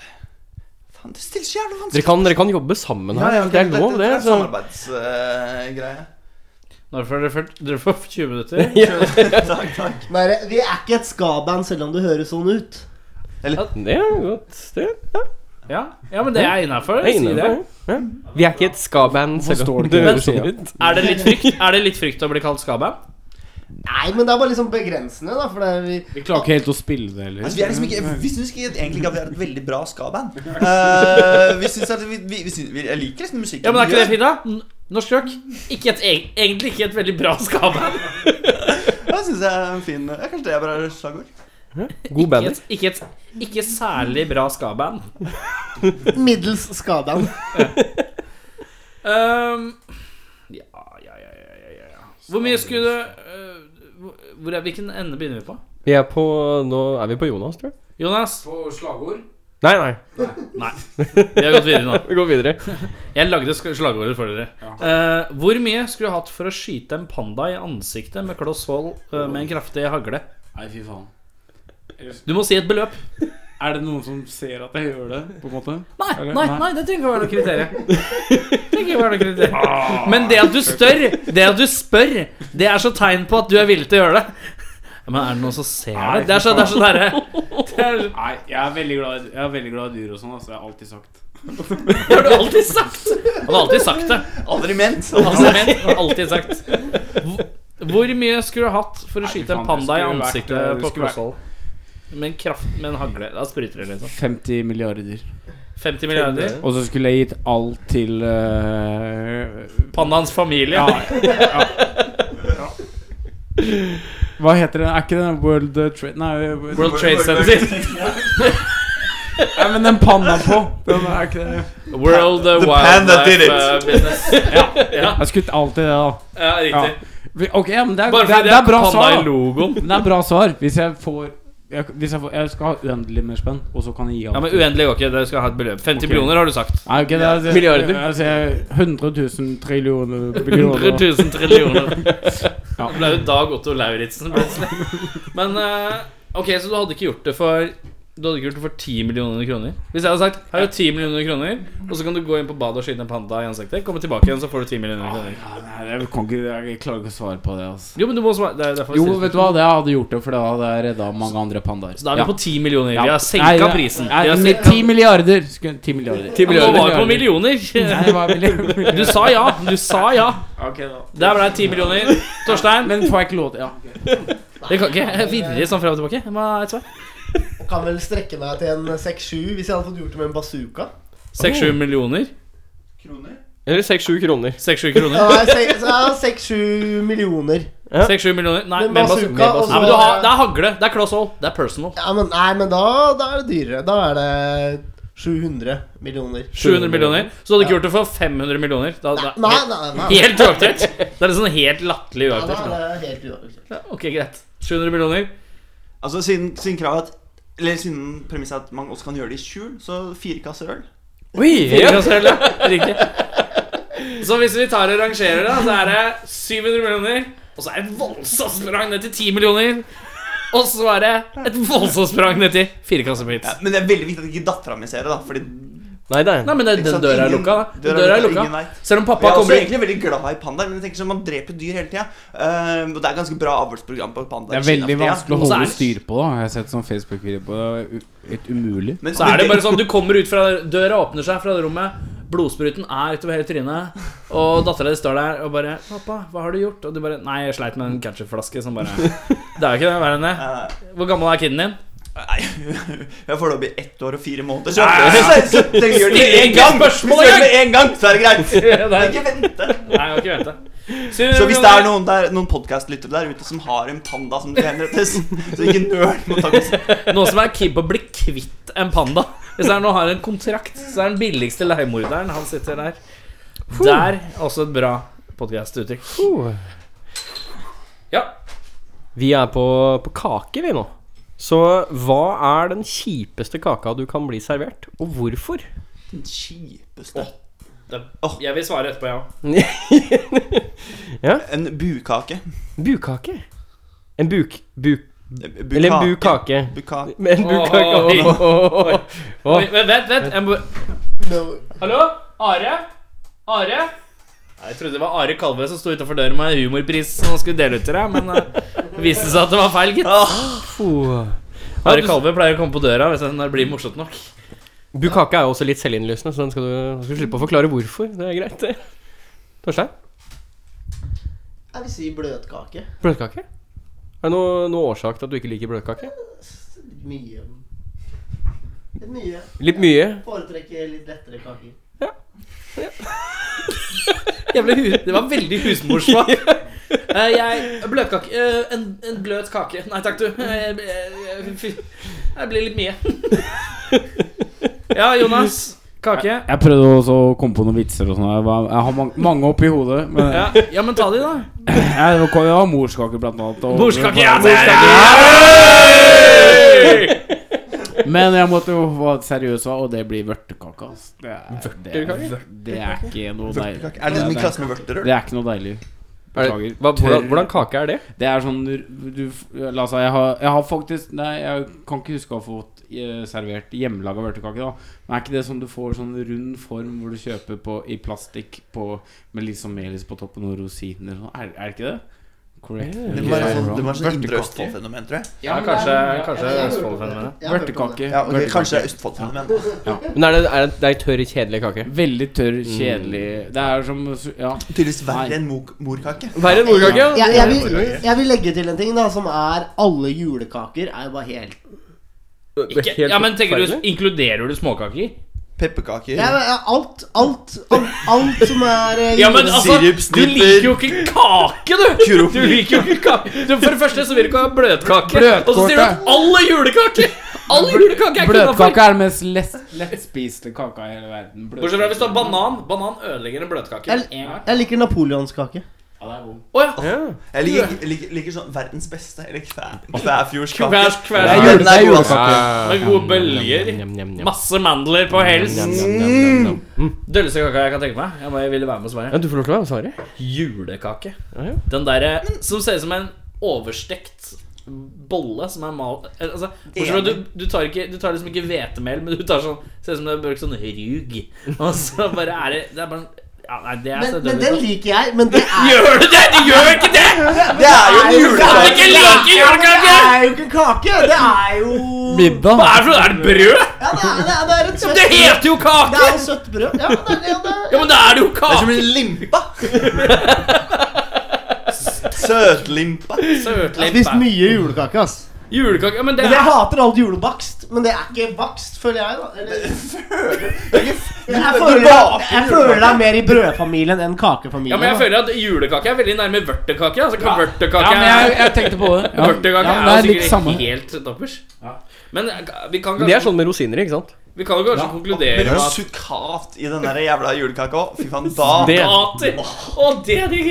Faen, det stiller så jævlig vanskelig
Dere kan, dere kan jobbe sammen her.
Ja, ja,
det er
dette-
lov, det.
dette er eh,
Så.
Samarbeidsgreie.
Nå får dere ført- dere får 20 minutter.
takk, takk.
Nei, vi er ikke et ska-band selv om det høres sånn ut.
Det er godt. Det ja,
Ja, ja men det er innafor.
det er innenfor. Ja. Vi er ikke et ska-band, selv
står
om
det
det
ikke
høres
på
sånn
siden?
ut.
Er det litt frykt Er det litt frykt å bli kalt skaband?
Nei, men det er bare liksom begrensende, da. For det er vi
Vi klarer ikke helt å spille det heller.
Altså, vi er liksom ikke Vi syns ikke, egentlig ikke at vi er et veldig bra ska-band. Eh, vi syns at vi, vi, vi, syns- vi Jeg liker liksom musikken.
Ja, men er
vi
ikke det
gjør.
fint, da? N- Norsk rock. Ikke et, eg- egentlig ikke et veldig bra skaband.
Ja, det syns jeg er en fin ja, Kanskje det er bare slagord.
God
Ikke,
bandy.
et- ikke, et- ikke særlig bra skaband.
middels ska-band.
Um, ja, ja, ja, ja, ja, ja, ja. Hvor mye skulle du øh, hvor- hvor er, Hvilken ende begynner vi på?
Vi er på Nå er vi på Jonas, tror jeg.
Jonas?
Nei, nei.
Nei. Vi har gått videre nå.
Vi går videre.
Jeg lagde sk- slagordet for dere. Eh, hvor mye skulle du hatt for å skyte en panda i ansiktet med kloss hold eh, med en kraftig hagle?
Nei, fy faen.
Du må si et beløp.
Er det noen som ser at jeg gjør det, på en måte?
Nei,
Eller-
nei,
nei.
nei, det trenger ikke å være noe kriterium. Det trenger ikke å være noe
Ah.
kriterium. Men det at du stør, det at du spør, det er så tegn på at du er villig til å gjøre det. Ja, Men er det noen som ser det? Det er så, det er så derre det er-
Nei, jeg er veldig glad, jeg er veldig glad i dyr og sånn, altså. Jeg har alltid sagt.
Det har du alltid sagt. Han har alltid sagt det.
Aldri ment.
Han har ment, han har alltid sagt. Hvor- Hvor mye skulle du hatt for å
Nei, fy
skyte en
faen, det
panda i
skulle vært- eh,
ansiktet
det
på
skulle vært-
klosshold? Med en kraft, med en hagle. Da spruter det, liksom.
50 milliarder.
50 milliarder.
Og så skulle jeg gitt alt til eh,
Pandaens familie.
ja, ja, ja. Hva heter den? Er ikke den World Trade Nei,
World Trade Center.
nei men den panna på! Den er ikke det.
World uh,
The panda did
Wildlife
it.
uh, Business.
Jeg skulle gitt alt til det, da.
Ja, riktig.
Vi- Ok, ja, men det er,
Bare
det,
fordi
er- det er bra svar.
i
da.
logoen.
Men det er bra svar. Hvis jeg får jeg, hvis jeg, får, jeg skal ha uendelig mer spenn, og så kan jeg gi alt.
Ja, men Uendelig går ikke. Du skal ha et beløp. 50 millioner, har du sagt.
Nei, ok, det er, det,
Milliarder.
Altså, 100 000 trillioner billioner.
100 000 trillioner.
Ja.
Det ble jo Dag Otto Lauritzen plutselig. Men eh, ok, så du hadde ikke gjort det for Du hadde ikke gjort det for 10 millioner kroner? Hvis jeg hadde sagt her er det 10 millioner kroner, og så kan du gå inn på badet og skyte en panda i ansiktet, komme tilbake igjen, så får du 10 millioner kroner.
Ja, nei, jeg, kan ikke, jeg klarer ikke å svare på det. Altså.
Jo, men du må svare. Det er derfor jeg
Jo,
stiller
vet du hva, det hadde gjort det, for da hadde jeg redda mange andre pandaer.
Så da er vi på 10 millioner.
Ja.
Vi har senka
Nei, det-
prisen.
Nei,
Vi har
med
senka-
10 milliarder. Skulle- 10 milliarder.
Ja, Nå var vi på millioner.
Nei, det var milliarder.
Du sa ja. Du sa ja. Der ble det 10 millioner. Torstein?
Men får jeg ikke lov til Ja.
Det Oh. kan ikke virre sånn frem og tilbake. Hva er et svar?
Kan vel strekke meg til en 6-7 hvis jeg hadde fått gjort det med en bazooka.
6-7 millioner?
Kroner?
Eller seks-sju kroner.
6-7 kroner?
Nei, se- så ja, 6-7 millioner.
6-7 millioner? Nei,
Med
med bazooka.
bazooka, og så-
Nei, men du har, det er hagle. Det er kloss hold. Det er personal.
Ja, men, nei, men da, da er det dyrere. Da er det 700 millioner.
700 millioner. Så du hadde ikke gjort det for 500 millioner. Da, da,
Nei, nei, nei. nei.
Helt uaktuelt! Det er sånn helt latterlig
Ja, da
uaktuelt.
er det helt uaktuelt.
Ja, Ok, greit. 700 millioner.
Altså siden, siden kravet at Eller siden premisset er at man også kan gjøre det i skjul, så fire kasser øl.
Oi,
Ja. Riktig. Så hvis vi tar og rangerer det, så er det 700 millioner. Og så er det et voldsomt sprang ned til 10 millioner. Og så er det et voldsomt sprang ned til fire kasser med hits.
Ja, men det er veldig viktig at ikke dattera mi ser det, da. Fordi
Nei, nei.
Nei, men det, den
sant,
døra er
ingen-
lukka. da. Den
døra er
døra er
lukka, ingen altså,
lukka.
vet.
Selv om
Jeg
pappa
er også
kommer inn
egentlig veldig glad i pandaer, men jeg tenker sånn, man dreper dyr hele tida. og det er ganske bra avlsprogram på pandaer.
Det er
i Kina
veldig
for tida.
vanskelig å
Og så er
holde
det-
styr på, da. Jeg har sett sånn Facebook-video på det. Det er u- Helt umulig.
Men,
Så er det bare sånn, du kommer ut fra Døra åpner seg fra det rommet Blodspruten er utover hele trynet Og datteren din står der og bare Pappa, hva har du gjort? Og du bare, nei, jeg sleit med en ketchupflaske Som bare, det er jo ikke det, hva er det?
Eh,
Hvor gammel er kiden din?
Nei, jeg får da bli ett år og fire måneder, så så- så- så jeg gjør det med
Still
en
ikke
gang! Hvis
spørsmål
jeg gjør det
engang!
med en gang, så er det greit.
Ja, det er-
Ikke vente.
Nei, jeg har ikke ventet
Så hvis det er noen, der- noen podcastlyttere der ute som har en panda som det henrettes, så ikke nøl med å ta kontakt.
Noen som er keen på å bli kvitt en panda Hvis han nå har en kontrakt Så er den billigste leiemorderen Han sitter der Der, også et bra podcastuttrykk Ja,
Vi er på, på kake, vi nå. Så hva er den kjipeste kaka du kan bli servert, og hvorfor?
Den kjipeste.
jeg vil svare etterpå, ja
En bukake.
Bukake. En buk... buk
Bukake.
eller en bukake.
Bukake.
Med en bukake.
Åh, oi,
Åh, åh,
Oi, men vent, vent. Jeg må... Hallo? Are? Are? Nei, Jeg trodde det var Are Kalve som sto utafor døren med en humorpris som han skulle dele ut til deg, men eh, det viste seg at det var feil, gitt.
åh.
Are Kalve pleier å komme på døra hvis den- når det blir morsomt nok.
Bukake er jo også litt selvinnlysende, så den skal du, du skal slippe å forklare hvorfor. Det er greit, det. Torstein?
Jeg vil si bløtkake.
Bløtkake? Er det noe- noe årsak til at du ikke liker bløtkake?
Mye Litt mye.
Litt mye?
Foretrekker litt lettere kaker.
Jævlig hu... Det var veldig husmorsmak. Eh, jeg Bløtkake eh, en, en bløt kake. Nei takk, du. Eh, eh, fy. Det blir litt mye. Ja, Jonas. Kake.
Jeg prøvde også å komme på noen vitser og sånn. Jeg, var- jeg har mange, mange oppi hodet. Men
Ja, ja men ta de, da.
jeg, det var- jeg har morskake, blant annet. Og,
Morskake, ja, det er
morskake.
det!
Men jeg måtte jo være seriøs, og det blir vørtekake. ass. Det er- det er- Det er ikke noe deilig.
Er det liksom i klasse med vørterøl?
Det er ikke noe deilig.
Er
Beklager.
det, hva, hvordan, hvordan kake er det?
Det er sånn du, du- La oss si jeg har, jeg har faktisk Nei, jeg kan ikke huske å ha fått eh, servert hjemmelaga vørtekake. da Men er ikke det sånn du får sånn rund form hvor du kjøper på, i plastikk på, med litt sånn melis på toppen og rosiner? og sånn? Er, er det ikke det? Correct.
Det var sånn, det var sånn indre Østfold-fenomen, tror jeg.
Ja, kanskje, kanskje Østfold-fenomenet.
Jeg har hørt om det.
Vørtekake.
Ja, ok,
vørtekake.
Kanskje det er Østfold-fenomen.
Men er det, er det, det er ei tørr, kjedelig kake?
Veldig tørr, kjedelig Det er som Ja.
Tydeligvis verre
Nei.
enn mok- morkake.
Verre enn morkake?
Jeg, jeg, vil, jeg vil legge til en ting, da, som er alle julekaker er jo bare helt
Ikke, ja, men tenker du, Inkluderer du småkaker?
Pepperkaker.
jeg, jeg, alt, alt, alt, alt som er eh,
Ja, men
jule-
altså, du
Sirupsnipper.
liker jo ikke kake, du! Du liker jo ikke kake du, For det første så vil du ikke ha bløtkake. Og så sier du at all er julekake! All julekake er
Bløtkake
innafor.
er den mest lett- lettspiste kaka i hele verden. Bløtkake.
Bortsett fra hvis du har banan. Banan ødelegger en bløtkake.
Jeg, jeg liker napoleonskake.
Ja, det er god.
Å ja.
Jeg liker, jeg liker, liker sånn verdens beste, eller kvæ- kvæfjordskake.
Kvæsj,
Det er
kvæsj.
jule- det er julekake.
Med gode bølger. Masse mandler på helst. Dølleste kaka jeg kan tenke meg. Jeg bare ville være med og svare.
Mm. Ja, du får lov til å være med og svare.
Julekake.
Ja, ja.
Den derre som ser ut som en overstekt bolle som er mal... Altså, bortsett fra at du, du, tar ikke, du tar liksom ikke hvetemel, men du tar sånn Ser ut som det er brukt sånn rug. Og så bare er det Det er bare en- ja, nei, det er
Men,
så
men
dødelig
den
sånn.
liker jeg. Men det er
Gjør du det?! Du gjør ikke det!
Det er jo en
Kan du
julekake!
ikke like
Det
julekake?!
er jo ikke en kake! Det er jo
Hva er det for noe? Er det brød?!
ja, det, er, det, er, det er et søtt
Det heter jo
Det
kake!
er jo søtt brød. Ja, men det er, ja, det er,
Ja, men da er det jo
Det er som
kake!
en limpa. Søtlimpa.
altså,
Jeg har spist
Søtlimpa.
mye julekake, ass.
Julekake ja, Men det
Men jeg
er
hater alt julebakst. Men det er ikke bakst, føler jeg, da. Eller, jeg,
Du
føler,
baker
jeg føler deg mer i brødfamilien enn kakefamilien.
ja, men jeg
da.
føler at julekake er veldig nærme vørtekake. Altså, ja.
Ja,
vørtekake
men
er-
jeg, jeg tenkte på det. Ja.
Vørtekake
Ja, det
er,
er
jo
litt
sikkert
samme.
helt toppers. Men eh, vi kan
Men det er sånn med rosiner, ikke sant?
Vi kan jo kanskje konkludere
Men
med
det er
at
sukkat i den der jævla julekaka òg. Fy faen, da
Det-
Dater! Å, det er digg!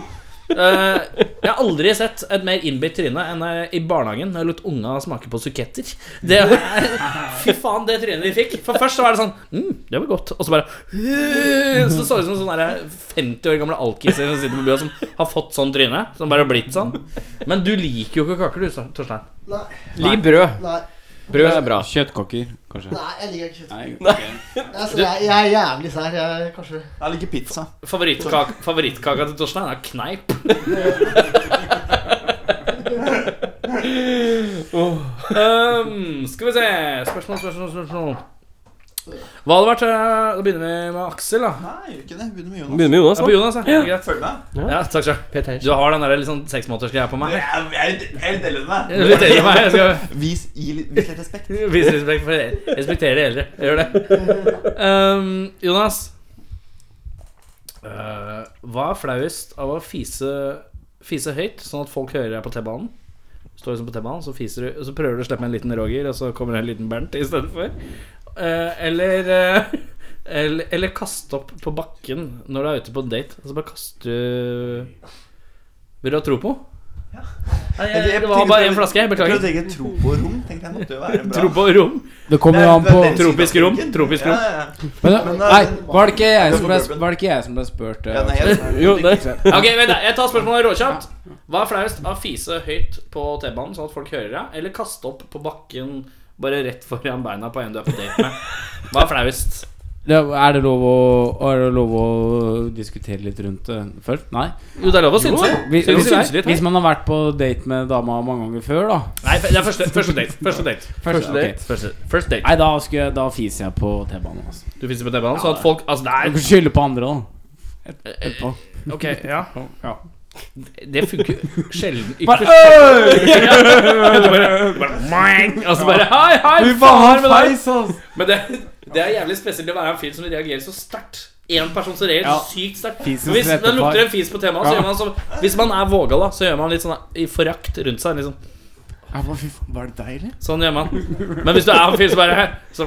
Eh, jeg har aldri sett et mer innbitt tryne enn eh, i barnehagen når jeg lot unga smake på suketter. Det er, fy faen, det trynet de fikk. For først så var det sånn mm, Det var godt. Og så bare Så så det ut som sånne der 50 år gamle alkiser som sitter på bua som har fått sånn tryne. Som bare har blitt sånn. Men du liker jo ikke kaker, du, Torstein.
Nei.
Lik brød.
Nei,
Brød er bra.
Kjøttkaker, kanskje.
nei, jeg liker ikke kjøtt.
Nei,
Altså, jeg, jeg er jævlig sær. Jeg, kanskje
Jeg liker pizza.
Favorittkaka, favorittkaka til Torstein er kneip. um, skal vi se Spørsmål, spørsmål, spørsmål. Hva hadde vært eh, Da begynner vi med Aksel, da.
Nei, jeg gjør ikke det. Begynner med Jonas.
Begynner med Jonas,
Ja, på
da.
Jonas, ja. ja. Greit.
Følg med.
Ja, takk skal du ha. Du har den der liksom seksmånedersgreia på meg.
Jeg jeg- jeg er del av
Jeg respekterer meg. Jeg skal
Vis, gi litt- vis litt respekt.
vise respekt for dere. Respektere eldre. Jeg gjør det. Um, Jonas. Eh, hva er flauest av å fise, fise høyt, sånn at folk hører deg på T-banen? Står liksom på T-banen, så fiser du, og så prøver du å slippe en liten Roger, og så kommer det en liten Bernt istedenfor. Uh, eller, eh, eller Eller kaste opp på bakken når du er ute på en date. Og så bare kaste du Vil du ha tro på? Nei, jeg-
Jeg- jeg
Det var
tenkte-
bare én flaske. Jeg
Jeg
beklager.
prøvde ikke tro på rom. Tenkte jeg måtte jo være bra.
Tro på rom.
Det kommer jo an på
Det er- det er den
Tropisk rom,
siden.
tropisk rom.
Ja, ja, ja.
men,
Men,
Nei,
eh,
var det ikke jeg som ble,
bourbon.
var det ikke jeg som ble spurt? eh?
Ja, den er helt-
Jo, det.
Ok, vent da, Jeg tar spørsmålet råkjapt. Hva er flaust? Å fise høyt på T-banen, sånn at folk hører deg? Eller kaste opp på bakken bare rett foran beina på en du er på date med? Hva er flaust?
Det- Er det lov å, er det lov å diskutere litt rundt det først? Nei?
Jo, det er lov å synse.
Hvis,
Skal vi
hvis,
synse litt her?
hvis man har vært på date med dama mange ganger før, da
Nei, det er første, første date. Første date.
Første
date.
Første, first date.
Nei, da, skulle jeg, da fiser jeg på T-banen. Altså.
Du fiser på T-banen, sånn at folk Altså,
Jeg
det
kan skylde på andre, da. Et- Etterpå.
er Ok, ja.
Ja.
Det funker jo sjelden.
Bare,
Ytterst sjelden. Du bare- du bare «Mwang», Og så bare Hei, hei, faen med deg! Men det, det er jævlig spesielt å være en fyr som reagerer så sterkt. En person som reagerer
Ja.
sykt sterkt.
Fisens
Hvis det
rette far.
lukter en fis på temaet, så
Ja.
gjør man sånn Hvis man er vågal, da, så gjør man litt sånn i forakt rundt seg. Liksom.
Jeg bare, fy faen, Var det deg, eller?
Sånn gjør man. Men hvis du er en fyr som bare så,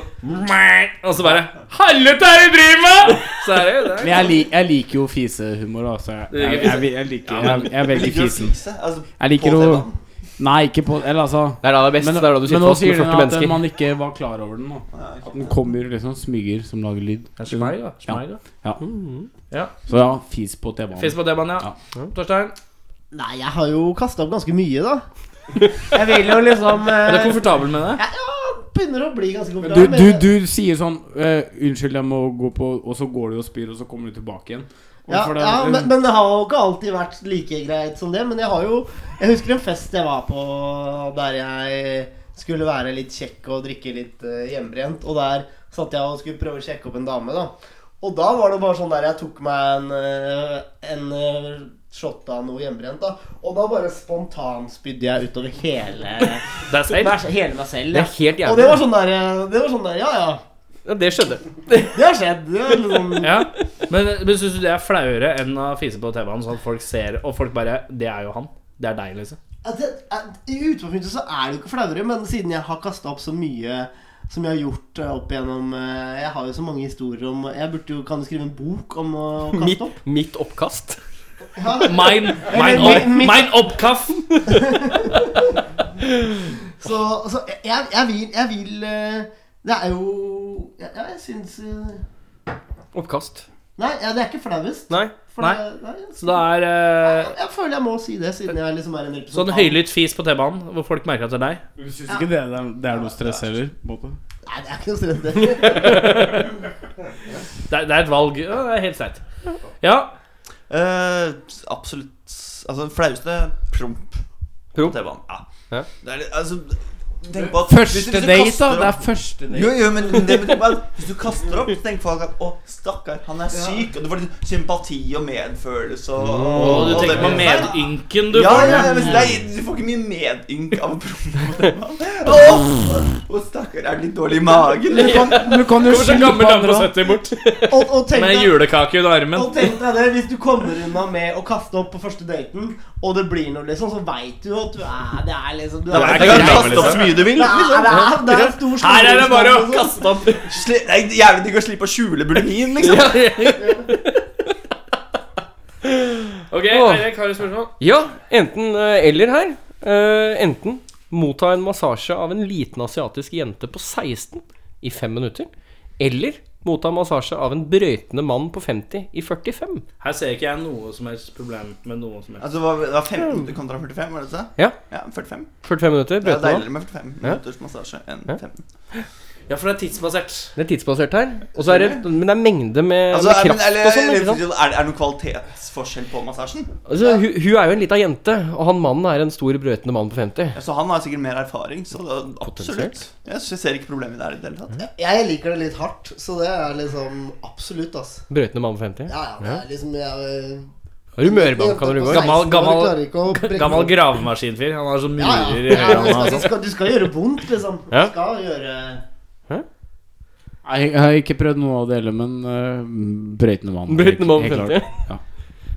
Og så bare Helvete, er det du driver med?! Så er det jo
Men
det.
jeg, lik- jeg liker jo fisehumor, da. Så jeg,
liker
jeg, jeg, jeg, liker jeg, jeg er veldig
Liker du å
fisen.
fise? Altså,
Jeg liker å
på T-banen?
Nei, ikke på Eller altså
Det er da det er best.
Men,
det er da du
men
sitter
nå
fast med
sier den
40
at
mennesker.
man ikke var klar over den. Da.
Ja, ikke
At den kommer liksom smyger som lager lyd.
Smeg, da. Smeg, da.
Så ja, fis på
Fis
T-banen.
på T-banen, ja. Torstein.
Nei, jeg har jo kasta opp ganske mye, da. Jeg vil jo liksom
Er du
eh,
komfortabel med det?
Ja, ja, begynner å bli ganske
Du,
komfortabel.
du,
men-
du sier sånn eh, 'Unnskyld, jeg må gå på' Og så går du og spyr, og så kommer du tilbake igjen. Og
Ja,
for det-
ja men, men det har jo ikke alltid vært like greit som det. Men jeg har jo Jeg husker en fest jeg var på der jeg skulle være litt kjekk og drikke litt eh, hjemmebrent. Og der satt jeg og skulle prøve å sjekke opp en dame, da. Og da var det bare sånn der jeg tok meg en, eh, en eh, shot av noe hjemmebrent, da. Og da bare spontanspydde jeg utover hele,
Det er safe.
hele meg selv.
Det
ja.
er helt
Og det
jævlig.
var sånn der, eh, det var sånn der Ja, ja.
Ja, det skjedde.
Det har skjedd. Det er litt sånn
Ja. Men, men syns du det er flauere enn å fise på T-banen, sånn at folk ser Og folk bare Det er jo han. Det er deg, liksom.
At det, at I utgangspunktet så er det jo ikke flauere, men siden jeg har kasta opp så mye som jeg har gjort eh, opp igjennom eh, Jeg har jo så mange historier om Jeg burde jo kan jo skrive en bok om å
Mitt,
kaste opp.
mitt oppkast.
Ja.
Mein, mein,
mi-
opp,
mi-
mein Oppkaff!
Så, så jeg, jeg vil Jeg vil eh, Det er jo Ja, ja, jeg syns eh,
Oppkast.
Nei, ja, det er ikke flauest.
Nei.
For
Nei.
det- nei, jeg-
Så det er eh,
jeg, jeg føler jeg må si det, siden jeg liksom er en
sånn
representant.
høylytt fis på T-banen, hvor folk merker at det er deg.
Du syns ikke det, det, er, det er noe stress heller? på en måte?
Nei, det er ikke noe stress.
Det er, det er et valg. Ja, det er helt streit. Ja.
Eh, absolutt Altså, flaueste promp.
Promp?
På T-banen. Ja.
Ja.
Det er litt Altså Tenk på at hvis du-
Første
hvis du
date, da!
kaster
Det
opp-
er første date.
Jo, jo, men det betyr bare at Hvis du kaster opp, så tenker folk at 'Å, stakkar, han er syk'. Og du får litt sympati og medfølelse
Og
og, og,
du
og
tenker på
det-
medynken du
Ja,
får.
ja, ja, men det er, du får ikke mye medynk av å prompe på T-banen. Å, Å, stakkar, er det litt dårlig i magen? eller sånn?
Du kan jo
Kommer så en
skylde
gammel
på
dame
andre
på
også.
70 bort
Og, og tenk
med
deg-
julekake under armen.
Og tenk deg det, hvis du kommer unna med å kaste opp på første daten, og det blir noe, liksom, så veit du at du er Det er liksom du
Jeg
er,
kan kaste opp så mye mye du vil. Liksom.
det er, det er stor
Her er det bare å
skole.
kaste opp.
Sli, det er jævlig digg å slippe å skjule bulimien, liksom.
Ok, Eirik, har du spørsmål?
Ja, enten eh, eller her. Eh, enten motta en massasje av en liten asiatisk jente på 16 i 5 minutter. Eller motta massasje av en brøytende mann på 50 i 45.
Her ser ikke jeg noe som helst problem med noe som helst.
Altså, det var- det var 15 kontra 45, var det det?
Ja.
ja 45.
45 minutter,
Det er
brøytende mann.
deiligere med 45 minutters massasje enn 15.
Ja, for det er tidsbasert.
Det er tidsbasert her. Og så er det, men det er mengde med,
Altså,
med
er, men,
kraft
eller,
og sånn.
eller,
ikke sant?
er, er det noen kvalitetsforskjell på massasjen?
Altså, hun, hun er jo en lita jente, og han mannen er en stor brøytende mann på 50.
Ja, Så han har sikkert mer erfaring, så det, absolutt.
Potensielt.
Jeg sy- ser ikke problemet der i det hele tatt.
Jeg liker det litt hardt, så det er liksom absolutt, ass.
Brøytende mann på 50.
Ja, ja, det er liksom jeg,
Har du mørbank, kan du gå?
Gammel- gammel-
gammel,
Gammel gravemaskinfyr. Han har sånn
ja, ja.
murer i
ja,
høyrehånda.
men
og
du,
sånn.
skal, du skal gjøre vondt, liksom. Du
Ja.
skal gjøre
Nei, Jeg har ikke prøvd noe av det heller, men
Eh,
uh, brøytende vann.
Brøytende mann
Helt
på
klart.
50.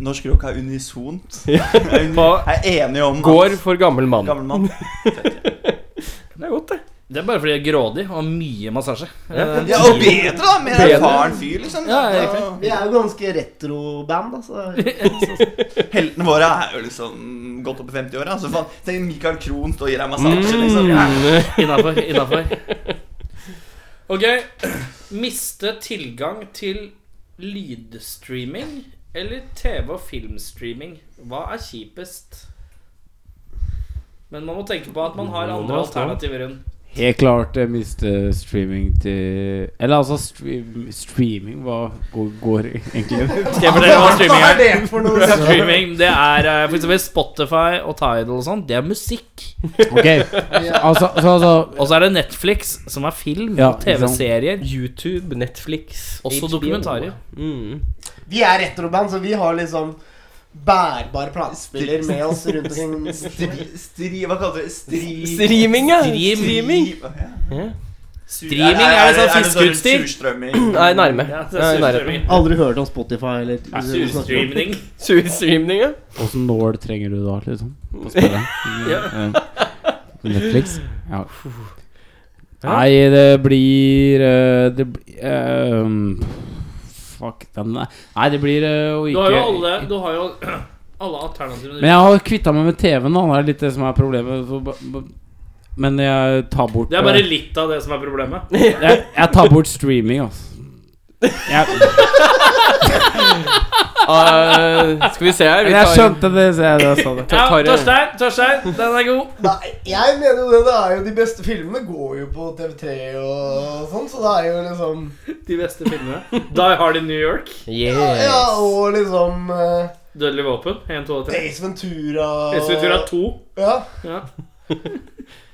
Norsk rock er unisont. Jeg er uni- jeg er enig om at-
Går for gammel mann.
Gammel mann.
Det er godt, det.
Det er bare fordi jeg er grådig og har mye massasje. Eh,
Ja, og bedre, da! Med en erfaren fyr, liksom.
Ja,
Da-
riktig.
Vi er jo ganske retro-band, altså. da, så
Heltene våre er jo liksom godt opp i 50-åra. Så faen, tenk Michael Krohn står og gir deg massasje, liksom. Ja.
Innafor. Innafor. Ok. Miste tilgang til lydstreaming eller TV- og filmstreaming. Hva er kjipest? Men man må tenke på at man har andre alternativer enn
Helt klart jeg mister streaming til Eller altså stream, streaming Hva går, går egentlig?
Skal jeg fortelle hva streaming
Hva
er?
er det for noe?
Streaming, det er eh, for eksempel Spotify og Tidal og sånn. Det er musikk.
Ok, altså, så, altså
Og så er det Netflix, som er film
Ja,
og TV-serier.
YouTube, Netflix
Også
HBO.
dokumentarer.
Mm.
Vi er retro-band, så vi har liksom bærbare platespiller med oss rundt omkring.
Stri, stri, hva kaller du det? Stri...
Streaming, ja.
Stream.
Streaming.
Ja.
Streaming er det sånn fiskeutstyr.
fiskeutstyr.
Nei, nærme.
Ja, det
Nei,
er
nærme.
surstrømming.
Aldri hørt om Spotify eller
Surstrømming.
Surstreaming, ja.
Åssen nål trenger du da, liksom? På spilleren? Eh, Netflix? Ja. Nei, det blir eh, Det blir eh, um, Fuck den Nei, det blir eh, å
Du har jo
ikke
alle Du har jo alle alternativene.
Men jeg har kvitta meg med TV-en, da. Det er litt det som er problemet. Så ba- ba- Men jeg tar bort
Det er bare
eh,
litt av det som er problemet.
jeg, jeg tar bort streaming, altså. Jeg,
Eh, skal vi se her. Vi
men jeg skjønte det, så jeg, jeg sa det.
Ja,
tar-
Torstein, Torstein, den er god.
Nei, jeg mener jo det. Det er jo de beste filmene går jo på TV3 og sånn, så det er jo liksom
De beste filmene. Die Hard in New York.
Ja, og liksom eh,
Dødelig våpen. 1, 2 og 3.
Ace Ventura og
Hvis vi tror at 2
Ja.
ja.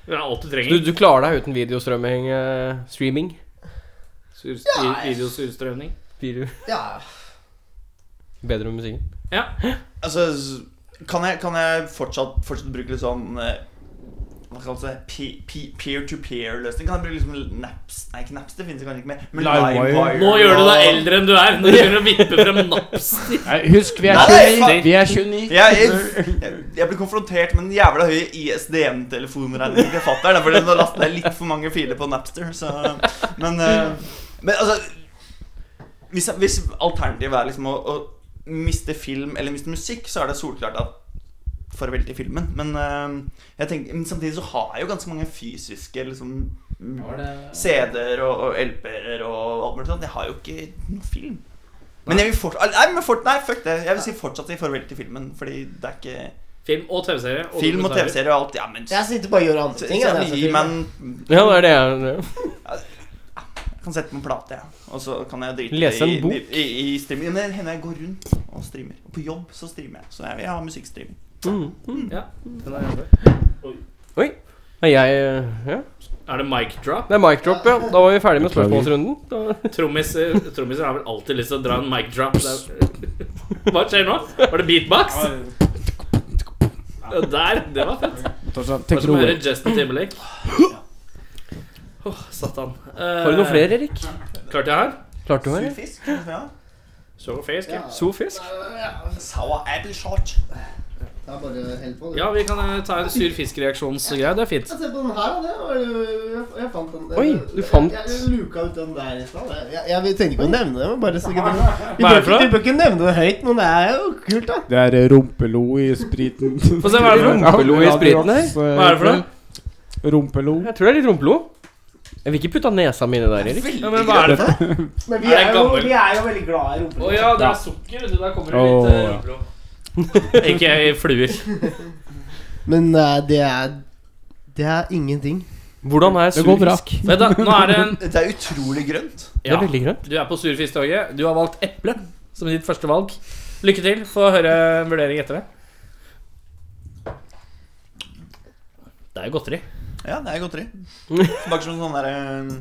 Det er alt du
Du,
trenger.
du klarer deg uten videostrømming eh, Streaming.
Sur- Videosurstrømming.
Video.
ja.
Bedre med musikken.
Altså, s- kan jeg, kan jeg fortsatt, fortsatt bruke litt sånn eh, hva kalles det? Pe- pe- Peer-to-peer-løsning? Kan jeg bruke liksom Naps Nei, ikke Naps, det finnes kanskje ikke mer. Men
Livewire.
Livewire
Nå gjør du deg
og-
eldre enn du er når du begynner å vippe frem napster.
Nei, Husk, vi er
Nei,
29.
faen.
Vi er 29.
Jeg, jeg, jeg, jeg ble konfrontert med den jævla høye ISDN-telefonregningen til fatter'n. Fordi nå lastet jeg litt for mange filer på Napster. Så, men, eh, men altså Hvis, hvis alternativet er liksom å, å miste film eller miste musikk, så er det solklart at farvel til filmen. Men eh, jeg tenker, men samtidig så har jeg jo ganske mange fysiske liksom, CD-er og, og LP-er og alt mulig sånt. Jeg har jo ikke noe film. Men jeg vil fortsatt Nei, men fort, nei, fuck det. Jeg vil si fortsatt si farvel til filmen. Fordi det er ikke
Film og TV-serie.
Film og
dokumentarer.
TV-serie og alt. Ja, men
Jeg sitter bare og gjør andre ting. jeg, når jeg ser
Gi
film.
meg en
Ja, det er det jeg
Jeg kan sette på en plate, jeg. Og så kan jeg drite
Lese en
i-
bok.
I, i, i streaming. Men det hender jeg går rundt og streamer. Og på jobb så streamer jeg. Så jeg, jeg har musikkstreaming.
Ja, den er jævlig.
Nei, Jeg eh, Ja.
Er det mic drop?
Det er mic drop, ja. Da var vi ferdig med spørsmålsrunden. Da-
Trommiser eh, trommiser har vel alltid lyst til å dra en mic drop. Det er- Hva skjer nå? Var det beatbox? Ja, Der! Det var fett.
Torstein,
Det er
tenk
som å høre
rolig.
Justin Timberlake. Åh, satan. Eh,
Har du noen flere, Erik?
Klart jeg har.
Klarte du det?
Surfisk? Ja.
Så fisk, ja.
Sofisk?
Sour apple shot.
Ja, Det er bare hell på. det.
Ja, vi kan eh, ta en sur fisk-reaksjonsgreie. Det er fint.
Jeg ser på den her, da. Det var jo Jeg, jeg fant den.
Oi, du fant-
Jeg, jeg luka ut den der i stad. Jeg, jeg, jeg tenkte ikke å nevne det. men Bare så ikke det. Vi
Hva er det
bør,
for noe?
vi bør ikke nevne det høyt, men det er jo kult, da.
Det er eh, rumpelo i spriten.
Få se, hva er det for noe?
Rumpelo i spriten her?
Hva er det for noe?
eh,
Rumpelo.
Jeg tror det er litt rumpelo. Jeg vil ikke putte nesa mine der, Erik.
Ja, men hva er det for?
Men
Er
vi
det
er, jo,
gammel?
vi er jo veldig glad i
Å
rumpeløk.
ja, det er sukker. vet du, Der kommer det
Åh,
litt eh,
ja.
rødblod. Ikke i fluer.
Men eh, det er Det er ingenting.
Hvordan er
Det går bra.
surfisk?
Vent, da. Nå er det en
Det er utrolig grønt.
Det
Ja,
er veldig grønt.
du er på surfisktoget. Du har valgt eple som ditt første valg. Lykke til. Få høre en vurdering etter det. Det er jo godteri.
Ja, det er godteri. Smaker som sånn der eh,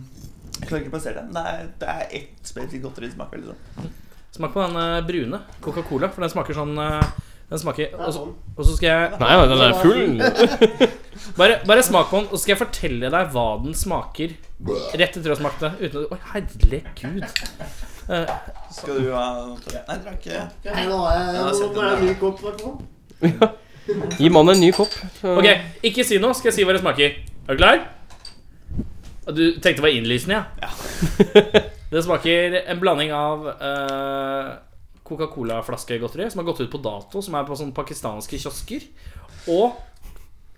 Jeg klarer ikke å plassere det. men Det er, det er ett spesifikt godteri det smaker veldig sånn.
Smak på den eh, brune Coca-Cola, for den smaker sånn eh, Den smaker Og så- og så skal jeg
Nei, men den er full.
bare, bare smak på den, og så skal jeg fortelle deg hva den smaker. Rett etter å ha smakt det. Uten å Oi, herregud.
Skal du ha Nei, dere har ikke
Nei, nå er jeg,
Ja,
nå
sett den
må jeg ha
der.
ny kopp, i hvert fall.
Gi mannen en ny kopp. Så-
Ok, ikke si noe. Skal jeg si hva det smaker. Er du klar? Og Du tenkte det var innlysende, ja? det smaker en blanding av eh, Coca-Cola-flaskegodteri som har gått ut på dato, som er på sånne pakistanske kiosker, og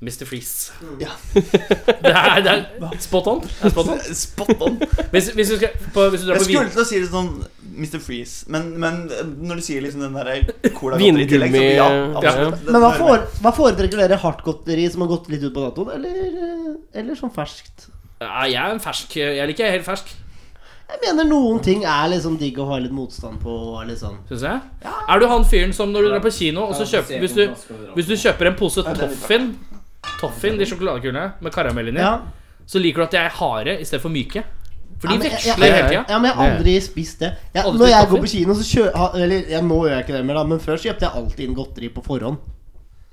Mr. Freeze.
Ja.
det, er, det er spot on. Det er spot on.
Spot on.
Hvis, hvis du skal på, hvis du drar
Jeg
på
skulle
vin...
til å si det sånn Mr. Freeze, men, men når du sier liksom den der cola
Vingummi-
i tillegg, så ja, absolutt. Den
Men hva,
er med.
fore- hva foretrekker dere? Hardt godteri som har gått litt ut på datoen, eller, eh, eller sånn ferskt?
Nei, jeg er en fersk Jeg liker helt fersk,
Jeg mener noen ting er liksom digg å ha litt motstand på. og er Litt sånn.
syns jeg. Er du han fyren som når du drar på kino, og så kjøper Hvis du Hvis du kjøper en pose Toffin Toffin, de sjokoladekulene med karamell inni,
ja.
så liker du at de er harde istedenfor myke. For de
Ja, men jeg-
veksler hele tida.
Ja, men jeg har aldri spist det. Jeg,
Aldri
når jeg
spist
går på
kaffe?
kino, så kjøper ha- Eller ja, nå gjør jeg ikke det mer, da, men før så kjøpte jeg alltid inn godteri på forhånd.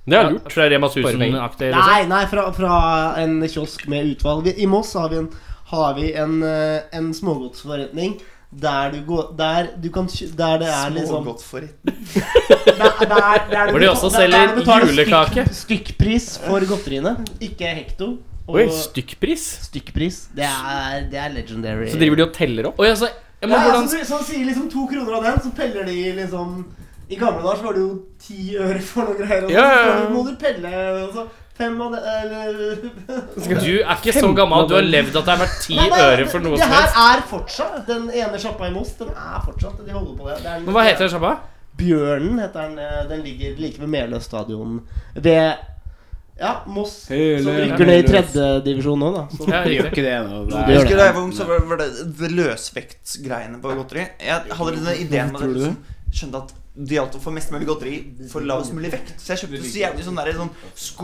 Det er lurt.
Fra Rema
penger.
1000-aktig. liksom.
Nei, nei, fra, fra en kiosk med utvalg. I Moss har vi en, har vi en, eh, en smågodsforretning. Der du går Der du kan kjø- Der det er liksom
Smågodt for
der, der, der du
Hvor de
beta-
også
der- der
selger
du betaler stykk-
julekake.
Stykkpris for godteriene. Ikke hekto. Og
Oi, stykkpris.
stykkpris. Det er, det er legendary.
Så driver de og teller opp.
Oi, altså, ja, men
Ja,
hvordan
så, så sier liksom to kroner av den, så peller de liksom I gamle dager så var det jo ti øre for noen greier. Og så,
Ja, ja, ja.
så må du pelle og så fem av det Eller
Du er ikke så gammel. Du har levd at det har vært ti
Nei, nei,
øre for noe
Det
som
her
helst.
er fortsatt Den ene sjappa i Moss, den er fortsatt De holder på det. det er,
Men hva heter den sjappa?
Bjørnen heter den. eh, Den ligger like ved Meløs stadion. Ved Ja, Moss.
Hele
Som rykker ned i
Meløs.
tredjedivisjon nå, da. Så
Ja,
Det gjør
riktig.
ikke det ennå. det
Det
er-
gjør
Jeg husker da jeg var ung, så var var det, det løsvektsgreiene på godteri. Jeg hadde denne ideen med
Tror du
det. Liksom, skjønte at det gjaldt å få mest mulig godteri for lavest mulig vekt. Så jeg kjøpte så jævlig sånn derre sånn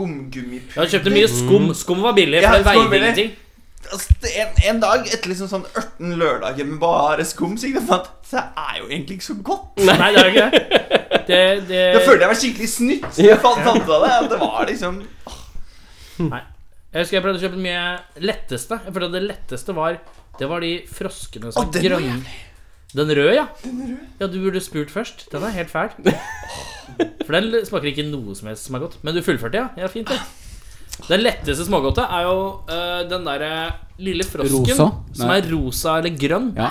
Jeg har kjøpt
skumgummipuder.
mye skum. Skum var billig,
Ja,
for det
skum var
veide
billig.
ingenting.
Altså, det- en, en dag etter liksom sånn 18 lørdager med bare skum, så gikk det for at det er jo egentlig ikke så godt.
Nei, det er jo ikke det. Det, det,
Da følte jeg meg skikkelig snytt. Så jeg fant fant ut av det. at Det var liksom
Jeg husker jeg prøvde å kjøpe mye letteste. Jeg følte at det letteste var Det var de froskene som
Å, den var
grønne. Den røde, ja. Ja, du burde spurt først. Den er helt fæl. For den smaker ikke noe som helst som er godt. Men du fullførte, ja. Ja, fint, det. Den letteste smågodtet er jo øh, den derre lille frosken
Rosa?
som
Nei.
er rosa eller grønn.
Ja.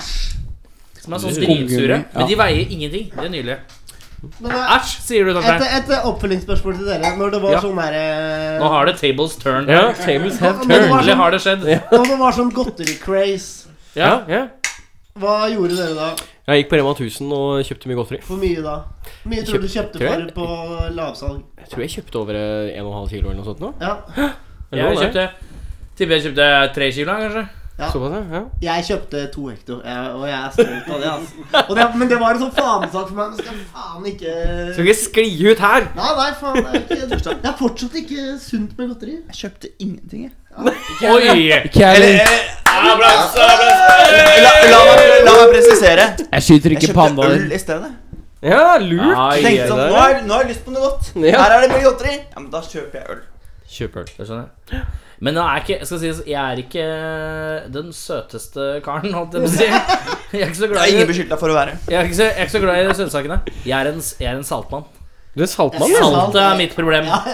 Som er sånn
Skumgummi,
drinsure.
ja.
Men de veier ingenting. De er nydelige.
Men, eh,
Æsj, sier du,
et,
Tarte.
et oppfølgingsspørsmål til dere. Når det var
Ja.
sånn derre
Nå har det tables turned.
Ja, tables have
Men det
turned.
var
Endelig
sånn-
har det skjedd.
Når det var sånn godteri-craze,
Ja.
Ja, ja.
hva gjorde dere da?
Jeg gikk på Rema 1000 og kjøpte mye godteri.
For mye da? Hvor mye tror du du kjøpte
Tror
for
jeg-
på lavsalg?
Jeg tror jeg kjøpte over eh, 1,5 kilo eller noe sånt nå.
Ja.
Eller
Jeg
noe,
kjøpte Tipper jeg kjøpte tre kilo, kanskje.
Ja.
Såpass, ja. ja.
Jeg kjøpte to hekto, jeg, og jeg er stolt av det. Altså. Og det men det var en sånn fanesak for meg. Men skal faen ikke
Skal ikke skli ut her!
Nei, nei, faen. Det er, ikke, det er fortsatt ikke sunt med godteri.
Jeg kjøpte ingenting, jeg.
Oi!
Eller, eh, la, la, meg- la meg presisere.
Jeg skyter
Jeg
ikke
kjøpte
pandaer.
øl i stedet.
Ja, lurt!
Ai,
Jeg tenkte sånn,
det-
nå har, nå har jeg lyst på noe godt.
Ja.
Her er det mye godteri. Ja, men da kjøper jeg øl.
Kjøp øl.
Det skjønner jeg. Men nå er jeg ikke, jeg skal si, jeg er ikke eh, den søteste karen, holdt jeg på å si. Jeg er ikke så
Det
glad
er
i,
ingen beskyldt deg for å være.
jeg er ikke så, jeg er ikke så glad i søtsakene. Jeg er en, jeg er en saltmann.
Du er saltmann.
Ja.
Saltet er mitt problem.
Ja.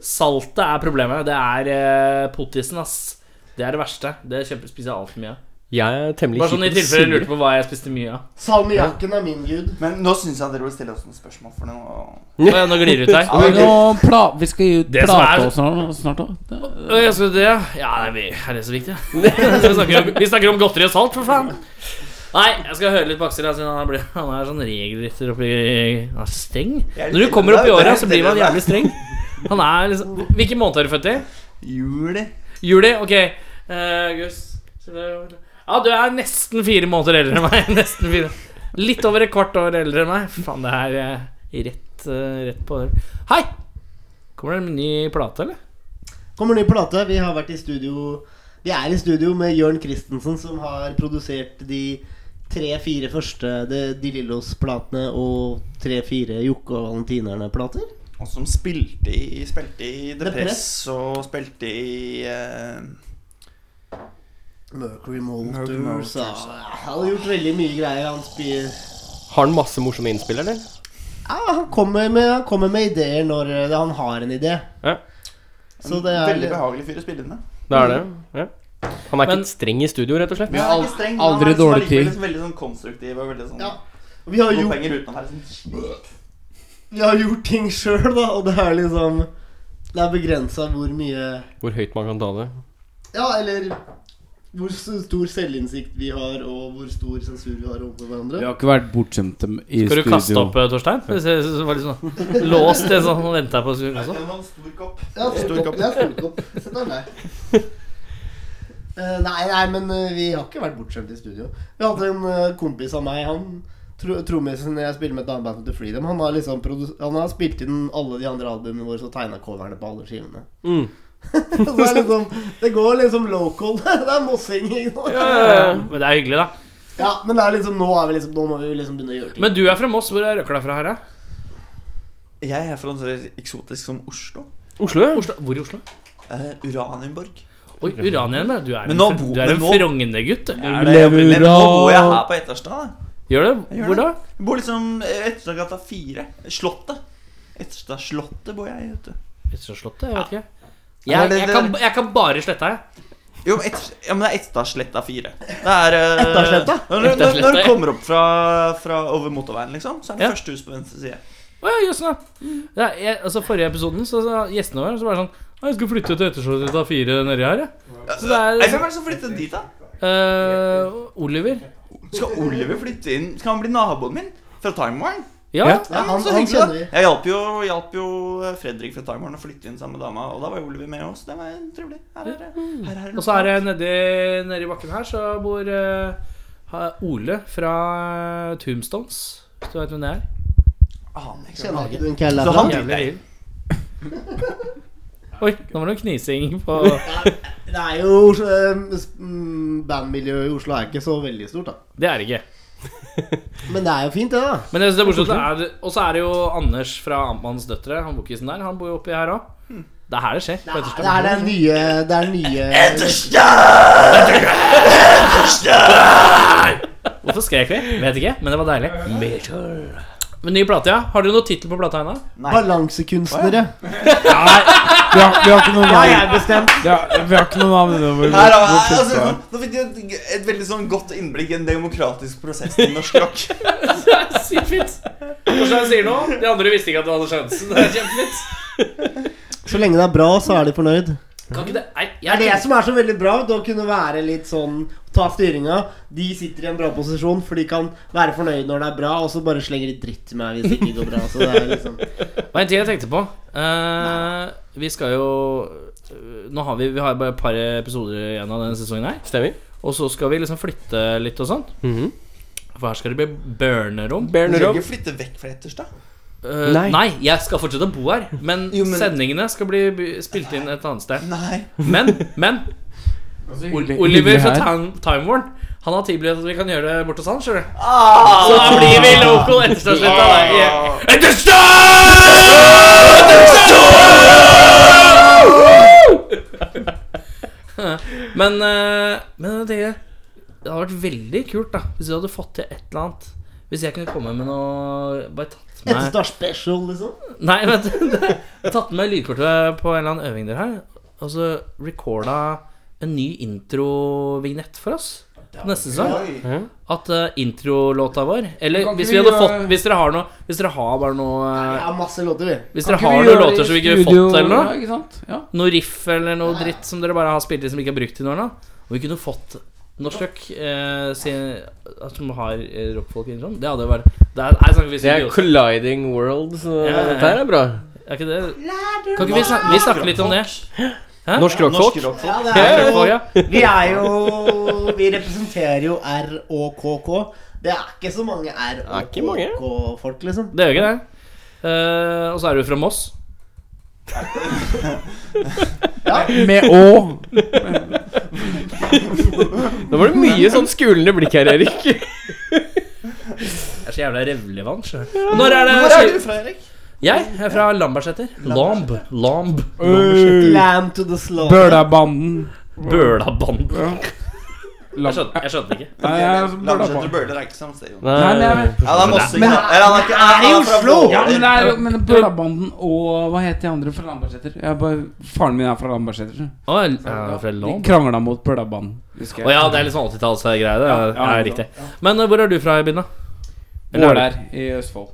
Saltet er problemet. Det er eh, pottisen, ass. Det er det verste. Det kjempe- spiser jeg altfor mye av.
Jeg er temmelig
Bare sånn i
kjip.
tilfelle du lurte på hva jeg spiste mye av.
Salmiakken er min gud.
Men nå syns jeg dere bør stille oss noen spørsmål for noe.
Å, ja, nå glir det ut her.
Ja, ok.
Nå pla vi skal gi ut
Det som
plate
er-
også nå- snart òg.
Å, jeg skal det? Ja, nei, vi- er det så viktig? vi, snakker om, vi snakker om godteri og salt, for faen. Nei, jeg skal høre litt på Aksel. jeg, Siden han, er blitt, han er sånn regelrytter oppi Han er streng.
Jeg er
Når du
litt
kommer opp i
eldre,
åra,
jeg er
så blir
litt
man
eldre.
jævlig streng. Han er liksom Hvilken måned er du født i?
Juli.
Juli? Ok. Eh, august september. Ja, du er nesten fire måneder eldre enn meg. Nesten fire Litt over et kvart år eldre enn meg. Fy Faen, det er eh, rett, eh, rett på Hei! Kommer det en ny plate, eller?
Kommer ny plate. Vi har vært i studio Vi er i studio med Jørn Christensen, som har produsert de tre-fire første De, de Lillos-platene og tre-fire Jokke og Valentinerne-plater.
Og som spilte i, spilte i The,
The
Press,
Press.
og spilte i eh,
Mercury
Mercury altså. Motors,
Motors ja. Han har gjort veldig mye greier. Han spyr
Har han masse morsomme innspill, eller?
ja, han, kommer med, han kommer med ideer når eh, han har en idé.
Ja.
Så det er
Veldig behagelig fyr å spille med.
Det er det. Ja. Han er ikke
Men-
streng i studio, rett og slett.
Men han er ikke streng, men
aldri
han er liksom
dårlig
allikevel
tid.
liksom Veldig sånn konstruktiv og veldig sånn
Ja. Vi har
Noen
gjort
penger uten å være sånn
vi har gjort ting sjøl, da, og det er liksom Det er begrensa hvor mye
Hvor høyt man kan ta det.
Ja, eller hvor s- stor selvinnsikt vi har, og hvor stor sensur vi har overfor
Vi
hverandre.
har ikke vært bortskjemte i
Skal du
studio.
kaste opp, eh, Torstein? Det ser- det var litt sånn låst. Det sånn, nå venter jeg på at du skulle kaste opp.
En stor kopp.
Ja,
Stor kopp.
Ja, stor kopp. Sett deg ned. Eh, nei, nei, men eh, vi har ikke vært bortskjemt i studio. Vi hadde en eh, kompis av meg. Han tro- Trommisen jeg spiller med et annet band som heter Freedom, han har liksom produ- Han har spilt inn alle de andre albumene våre og tegna coverne på alle skivene.
Mm.
Så det, er liksom, det går liksom local. det er mossing. ikke sant?
Ja, Eh, Men det er hyggelig, da.
Ja, men det er liksom, nå, er vi liksom, nå må vi liksom begynne å gjøre ting.
Men du er fra Moss. Hvor er røkla fra her, da?
Jeg er fra noe så eksotisk som Oslo.
Oslo, ja.
Oslo. Hvor i Oslo?
Eh, Uranienborg.
Oi, Uranien. men Du er
Men
en,
nå
fr-
bo-
du er en
men nå-
Frogner-gutt. du.
Er det, jeg, men nå bor jeg her på Etterstad. da.
Gjør det?
Jeg gjør
Hvor da?
Jeg bor liksom Etterstadgata 4. Slottet. Etterstadslottet bor jeg i, vet du.
Ytterslottet? Jeg vet ikke.
Ja,
Jeg,
det-
jeg,
det-
kan, jeg kan bare slette her.
Jo, men Etterst- ja, men det er Etterstadsletta 4. Det er eh,
Etterstadsletta?
Når, når, når,
Etterstadsletta,
du
ja.
kommer opp fra, fra over motorveien, liksom, så er det
Ja.
første hus på venstre side.
Å ja, jøss, da. Ja, jeg, altså, forrige episoden så sa gjestene våre så var det sånn «Å, Jeg skal flytte til Ytterslottet av fire nedi her, jeg. Så det er
Nei, Hvem
liksom
er det som flytter dit, da?
eh, Oliver.
Skal Oliver flytte inn? Skal han bli naboen min? Fra Time Warn?
Ja.
Ja, han,
så
han
hyggelig, da.
kjenner vi.
Jeg hjalp jo, hjalp jo eh, Fredrik fra Time Warn å flytte inn sammen med dama, og da var jo Oliver med oss. Det var trivelig. Her er det. Her er det
Og så er det nedi, nedi bakken her så bor eh, ha- Ole fra eh, Tombstones. Hvis du vet hvem det er.
Aner ikke.
Kjenner ikke du en kjell altså?
Så han-
derfra?
Jævlig vill. Oi, nå var det noe knising på
Det er jo eh, s- mm, Bandmiljøet i Oslo er ikke så veldig stort, da.
Det er det ikke.
Men det er jo fint, det, da.
Men jeg synes det er morsomt. det er- Og så er det jo Anders fra Amtmannens Døtre, han bokisen der, han bor jo oppi her òg. Det er her det skjer. på
Det er,
Etterstad.
det er den nye Det er den nye
Hvorfor skrek vi? Vet ikke, men det var deilig. Men ny plate, ja. Har dere noen tittel på plata ennå?
Balansekunstnere.
Vi har, vi har ikke noe
Har
navn.
jeg bestemt.
Ja, vi har ikke noe navn. ennå, hvor-
Her, er-
hvor
altså,
putta er.
nå fikk jeg et, et veldig sånn godt innblikk i en demokratisk prosess i norsk rock.
Sykt fint. Torstein sier noe. De andre visste ikke at du hadde sjansen. Det er kjempefint.
Så lenge det er bra, så er de fornøyd.
Kan ikke det Nei,
Mm. Det er det
jeg
som er så veldig bra, det å kunne være litt sånn Ta styringa. De sitter i en bra posisjon, for de kan være fornøyd når det er bra, og så bare slenger de dritt til meg hvis det ikke går bra. Så det er liksom
Det var en ting jeg tenkte på. Eh, vi skal jo eh, Nå har vi, vi har bare et par episoder igjen av denne sesongen her.
Stemmer.
Og så skal vi liksom flytte litt og sånn.
Mhm.
For her skal det bli burnerom.
Du
Berner
skal
opp.
ikke flytte vekk fra Etterstad.
Eh,
Nei.
nei. jeg skal fortsette å bo her. Men,
Jo, men-
sendingene skal bli by- spilt inn et annet sted.
Nei.
Men, men Ol- Oliver fra Time, Time Warn Han har tilbudt at vi kan gjøre det borte hos han. skjønner du?
Ah!
Så da blir vi local etterstadsletta. Men, eh, men det, det hadde vært veldig kult da hvis vi hadde fått til et eller annet Hvis jeg kunne komme med noe Bare tatt
Et
med
Star Special, liksom.
Nei, vent Tatt med lydkortet på en eller annen øving dere har, og så recorda en ny intro-vignett for oss. Neste sesong. At eh, introlåta vår Eller
Kan ikke
hvis vi
vi
hadde
gjøre-
fått Hvis dere har noe Hvis dere har bare noe
Vi
eh,
har masse låter, vi.
Hvis dere har noen låter som vi ikke har fått, eller noe
Ja, ikke sant? Ja.
Noe riff eller noe dritt som dere bare har spilt i som ikke er brukt i noen år, da. Og vi kunne fått norsk rock eh, sin- at som har eh, rockfolk innom. Det hadde vært Det er, nei, snakker vi
Det er
symbioser.
colliding world, så
Ja, ja, ja.
dette her er bra.
Er ikke det Kan ikke vi snakke, vi snakke litt om det?
Norsk rockfolk.
Ja, det
Ja,
er jo,
ja.
vi er jo Vi representerer jo R og KK. Det er ikke så mange
Det
R
er
og
ikke mange.
KK-folk, liksom.
Det gjør ikke det. Eh, og så er du fra Moss.
Med å
Da var det mye sånn skulende blikk her, Erik.
Jeg er så jævla revlevann. sjø. Og Når er det
Hvor er du fra, Erik?
Jeg er fra Lambertseter. Lamb. Lamb.
Lamb to the slow.
Bølabanden.
Bølaband. Jeg
Nei,
skjønte, jeg skjønte det ikke.
jeg er som
Lamskjøtter og
Bølabanden.
Bøhler er ikke samme sted. jo.
Nei, men jeg vet-
Ja, det er Mossing.
Men
da. Eller han er ikke
han er i
han fra
Oslo!
Våler.
Ja, men, det er, jo- men Bølabanden og Hva heter de andre fra Lambertseter? Jeg er bare- Faren min er fra Lambertseter.
Å, jeg er
De
fra Lamb.
krangla mot Bølabanden. Husker
Å ja, det er litt sånn 80-tallsgreie. Det er,
ja,
er riktig. Men eh, hvor er du fra, Ibin, da?
Vår der i Østfold.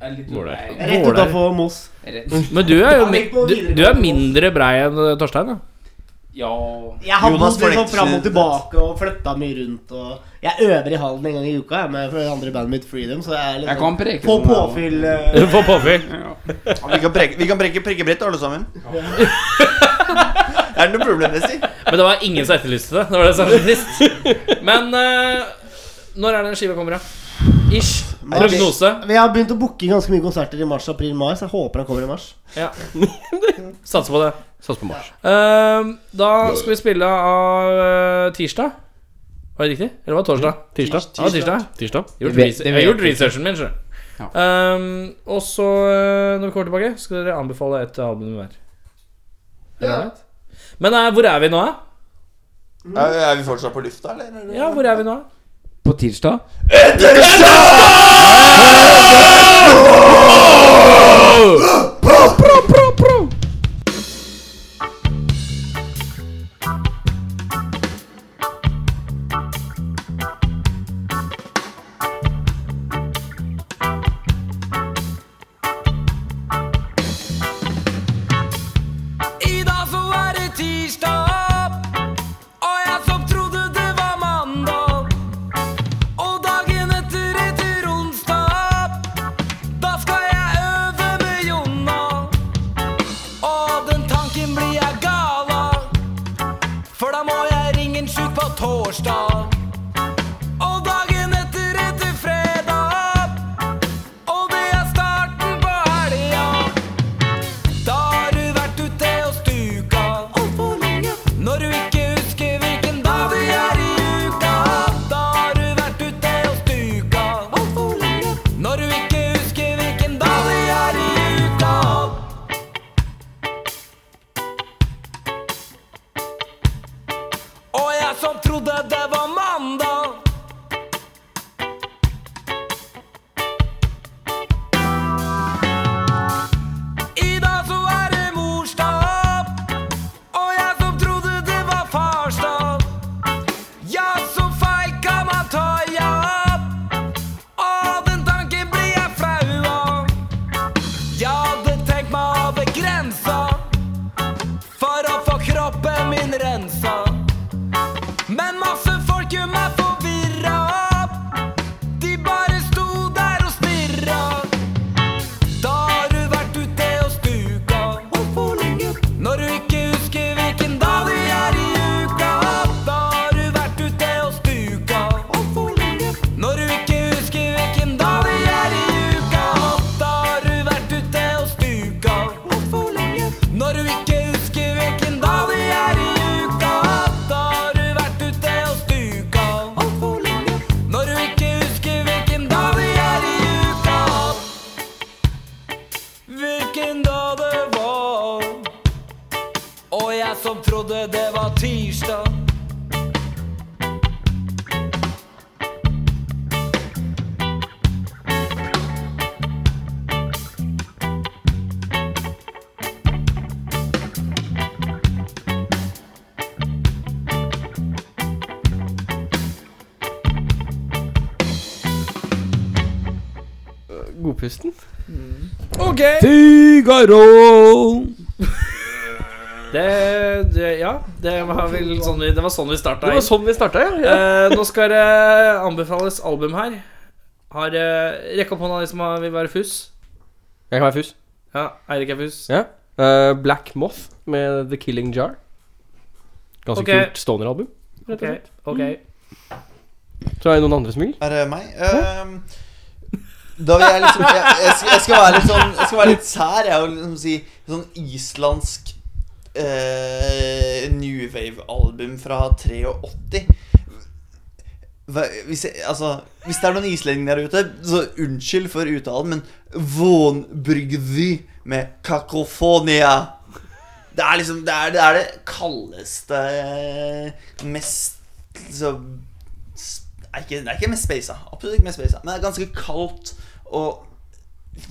Det er litt-
Våler.
Rett utafor Moss.
Men du er jo
Ja,
mi-
på
du,
videregående
du er mindre brei enn eh, Torstein, da.
Ja
Jeg har
Jonas
bodd litt sånn
Fleksnes.
fram og tilbake og flytta mye rundt. Og jeg øver i hallen en gang i uka jeg, med for det andre bandet mitt Freedom. Så jeg er litt
Jeg kan preke
på
sånn, jeg også.
påfyll. eh,
Få påfyll.
Vi kan preke, vi kan preke prekkebrett, alle sammen. er det noe problemmessig?
Men det var ingen som etterlyste det. Det var det som var trist. Men eh, når er den skiva kommer, da? Ish.
Mars.
Prognose.
Vi har begynt å booke ganske mye konserter i mars, april, mai, så jeg håper han kommer i mars.
Ja. Satser på det.
Sats på Mars.
Ehm, da skal vi spille av eh, tirsdag. Var det riktig? Eller var det torsdag? Tirsdag. Ja, tirsdag.
Mm. Tirsdag.
Jeg har
Det
gjort
vet-
research-
det
jeg har
vet
gjort
jeg
researchen min, skjønner du. Ehm, og så, eh, når vi kommer tilbake, skal dere anbefale et album hver. Er det greit? Men eh, hvor er vi nå, da?
Er, er vi fortsatt på lufta, eller?
Ja, hvor er vi nå? da?
På tirsdag?
I dag så er det tirsdag, og jeg som trodde det var mandag. Og dagen etter etter onsdag, da skal jeg øve med Jonna.
godpusten.
Ok!
Figaro!
Det, det Ja, det var vel sånn vi, det var sånn vi starta.
Det var sånn vi starta, ja.
Eh, nå skal det anbefales album her. Har eh, Rekk opp hånda de som har, vil være fuss.
Jeg kan være fus.
Ja, Eirik er fuss.
Eh, Black Moth med The Killing Jar. Ganske
Ok.
kult stoner-album.
Ok, ok
Mm. Så er det noen andre som vil.
Er det meg? Ehm, da vil jeg liksom jeg, jeg, skal, jeg, skal være litt sånn, jeg skal være litt sær. Jeg vil liksom si sånn islandsk eh, new wave-album fra 83. Hva, hvis, jeg, altså, hvis det er noen islendinger der ute, så unnskyld for uttalen, men Vånbrygvy med kakofonia. Det er liksom Det er det, er det kaldeste eh, Mest liksom sp- er ikke, Det er ikke mest spasa. Absolutt ikke mest spasa. Men det er ganske kaldt og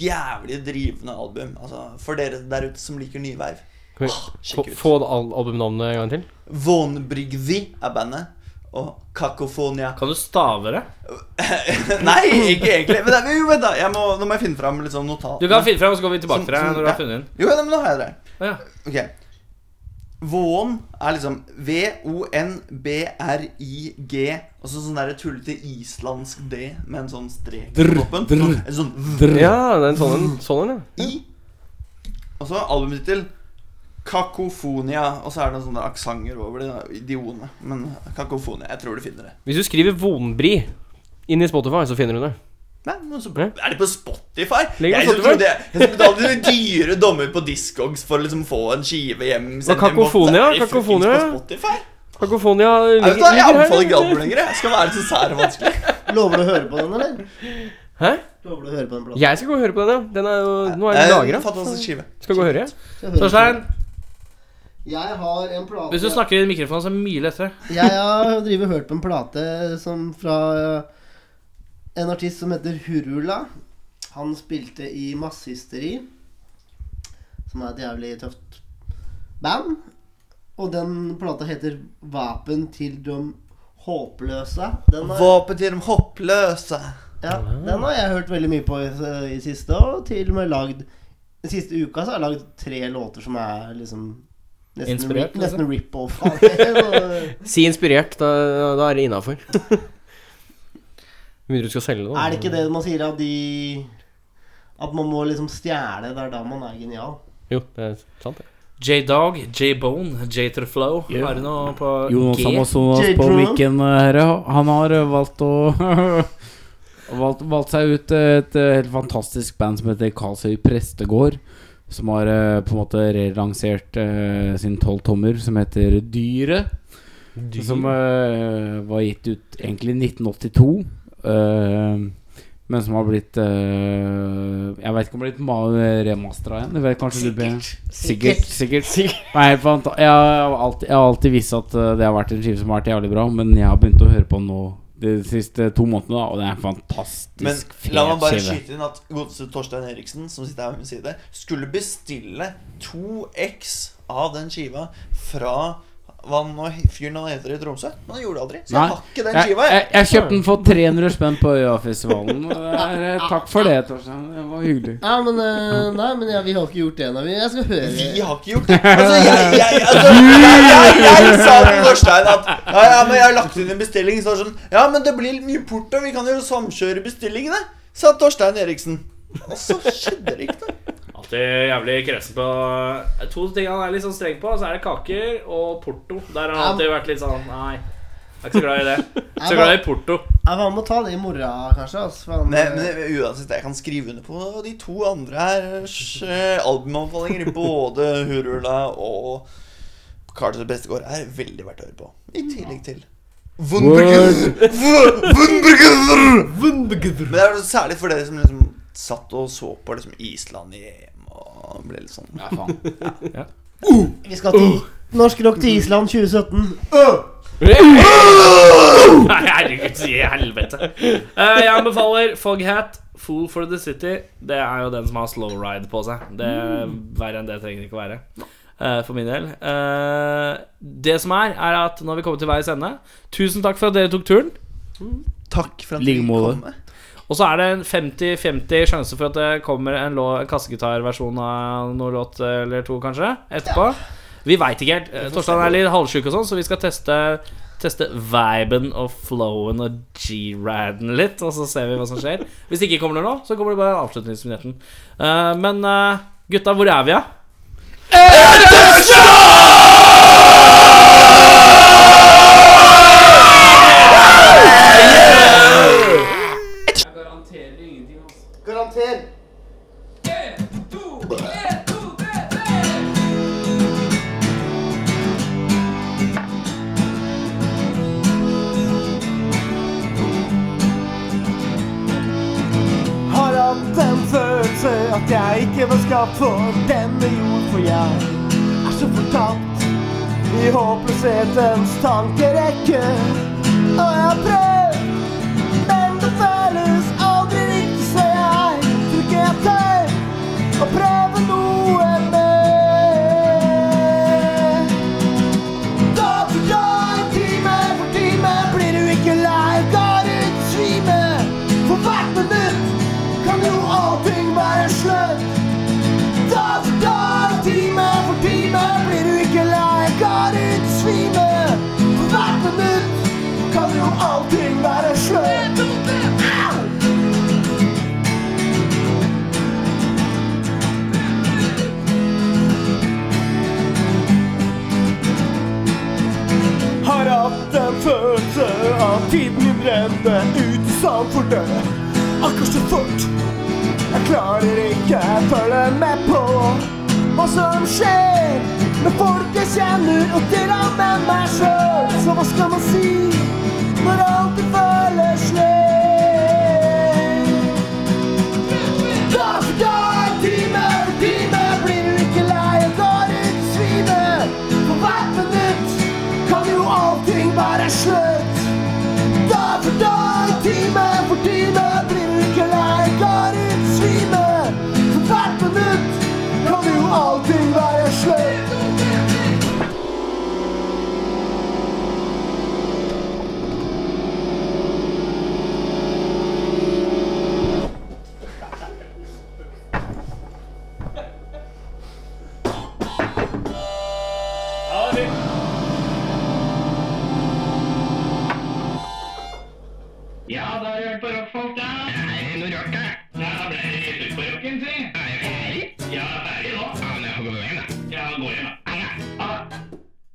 jævlig drivende album. Altså, for dere der ute som liker nye verv.
Kan vi
Ah,
få,
sjekk ut.
få det al- albumnavnet en gang til?
Vånbrygvi er bandet. Og Kakofonia
Kan du stave det?
Nei, ikke egentlig. Men det er, jo, vent, da. Jeg må, nå må jeg finne fram litt sånn notat.
Du kan finne frem, og så går vi tilbake
Som-
til deg
som-
når du har
ja.
funnet den.
Jo, ja, men nå har jeg det.
Å ja.
Ok Vån er liksom V-O-N-B-R-I-G Og så sånn der tullete islandsk D Med en sånn strek på toppen Sånn- En sånn V
Ja, det er en sånn en. Sånn en, ja.
I Og så albumtittel Kakofonia Og så er det noen sånne aksanger over de idiotene Men kakofonia, jeg tror du finner det
Hvis du skriver Vonbri inn i Spotify, så finner du det.
Nei, men så
Ja.
Er det på Spotify?
Ligger
jeg
på
som
Spotify.
trodde jeg, jeg som betalte dyre dommer på Discogs For å liksom få en skive hjem sende hjem, og så er
Kakofonia,
det fuckings
Kakofonia, ja.
På Spotify
Kakofonia
Jeg, vet, da, jeg anbefaler ikke
her.
album lenger. Jeg skal være så sær og vanskelig.
Lover du å høre på den, eller?
Hæ?
Lover du å høre på den platen?
Jeg skal gå og høre på den, ja. Den er jo, nå
Eh,
er den lagra.
Fantastisk skive.
Skal gå og høre. ja.
Jeg hører på
Torstein,
den. Jeg har en plate
hvis du snakker i mikrofonen, så er det mye lettere.
Jeg har drivet og hørt på en plate som fra en artist som heter Hurula. Han spilte i Massehysteri, som er et jævlig tøft band. Og den plata heter 'Vapen til de håpløse'. Den har,
Våpen til de hoppløse.
ja, den har jeg hørt veldig mye på i, i siste, og til og med lagd Den siste uka så har jeg lagd tre låter som er liksom Nesten,
Inspirert, liksom?
ri- nesten rip-off av det.
Si inspirert. Da, da er det innafor. Mindre du skal selge det. da.
Er det ikke det man sier at de At man må liksom stjele? Det er da man er genial.
Jo, det er sant, det.
J-Dog, J-Bone, J-Terflow. Har du noe på
Jonas
G?
Amazonas
J.
på
Drew.
mikken her. Han har eh, valgt å valgt, valgt seg ut et eh, helt fantastisk band som heter Karlsøy Prestegård. Som har eh, på en måte relansert eh, sin tolvtommer som heter Dyret. Som eh, var gitt ut egentlig i 1982. eh, men som har blitt eh, Jeg vet ikke om det har blitt remastera igjen. Det vet kanskje du Sikkert. Sikkert. sikkert. Nei, helt fanta- jeg, har alltid, jeg har alltid visst at eh, det har vært en skive som har vært jævlig bra, men jeg har begynt å høre på den nå de siste to månedene, da, og det er en
Men
fantastisk
la meg bare
fet skive.
skyte inn at godeste Torstein Eriksen, som sitter her ved min side, skulle bestille to x av den skiva fra hva nå fyren han heter i Tromsø. Men han gjorde det aldri. Så
Nei.
jeg har ikke den
Jeg,
skiva.
jeg,
Jeg.
jeg kjøpte den for 300 spenn på Øyafestivalen. og det er, eh, Takk for det, Torstein. Det var hyggelig.
Ja, men eh, Nei, men jeg, vi har ikke gjort det ennå. Vi- Jeg skal høre
Vi har ikke gjort det. Altså, jeg, jeg, altså, jeg, jeg, jeg sa til Torstein at ja, ja, men jeg har lagt inn en bestilling. Så var det sånn, ja, men det blir mye porto. Vi kan jo samkjøre bestillingene, sa Torstein Eriksen. Og så skjedde det ikke noe.
Alltid jævlig kresen på To ting han er litt sånn streng på, så er det kaker og porto. Der har han alltid vært litt sånn Nei, jeg er ikke så glad i det. Jeg er Så glad i porto.
Ja, men Han må ta det i morgen, kanskje. Altså, for han,
Nei, men det- uansett, jeg kan skrive under på de to andre her s- eh, albumanbefalinger. i Både Hurula og Carter Bestegård er veldig verdt å høre på. I tillegg til Wundberger. Wundberger! Men det er jo særlig for dere som liksom satt og så på liksom Island i EM og ble litt sånn
Ja, faen.
eh, vi skal til Norsk Rock til Island 2017.
Nei, herregud, si i helvete. Eh, jeg anbefaler Foghat, Fool for the City. Det er jo den som har slow ride på seg. Det Verre enn det trenger det ikke å være. eh, for min del. Eh, det som er, er at nå har vi kommet til veis ende. Tusen takk for at dere tok turen.
Takk for at
Like
dere
måte.
kom.
Og så er det en 50-50 sjanse for at det kommer en, lå- en kassegitarversjon av noen låt eh, eller to, kanskje, etterpå. Vi veit ikke helt. Eh, Torstein er litt halvsjuk og sånn, så vi skal teste Teste viben og flowen og g-raden litt, og så ser vi hva som skjer. Hvis det ikke kommer noe nå, så kommer det bare avslutningsvinjetten. Eh, men eh, gutta, hvor er vi, da?
Garanter. Har hatt en følelse at jeg ikke var skapt for denne jord, for jeg er så fortapt i håpløshetens tankerekke. Og jeg har prøvd, men det føles aldri riktig, så jeg tror ikke jeg tør å prøve noe mer. Dag for dag, time for time, blir du ikke lei, går ut svime. For hvert minutt kan jo allting være slutt. Dag for dag, time for time, blir du ikke lei, går ut svime. For hvert minutt kan jo allting være slutt. Au! Har hatt en følelse av tiden min renne ut i sand for død. Akkurat så fort. Jeg klarer ikke følge med på hva som skjer med folk jeg kjenner, og til og med meg sjøl. Så hva skal man si når alt det føles slik? Dag for dag, time for time, blir du ikke lei og går ut i svime. For hvert minutt kan jo allting være slutt. Dag for dag, time for time, blir du ikke lei, går ut i svime. For hvert minutt kan jo allting være slutt.
Ja, da har jeg hørt på rockfolk, da.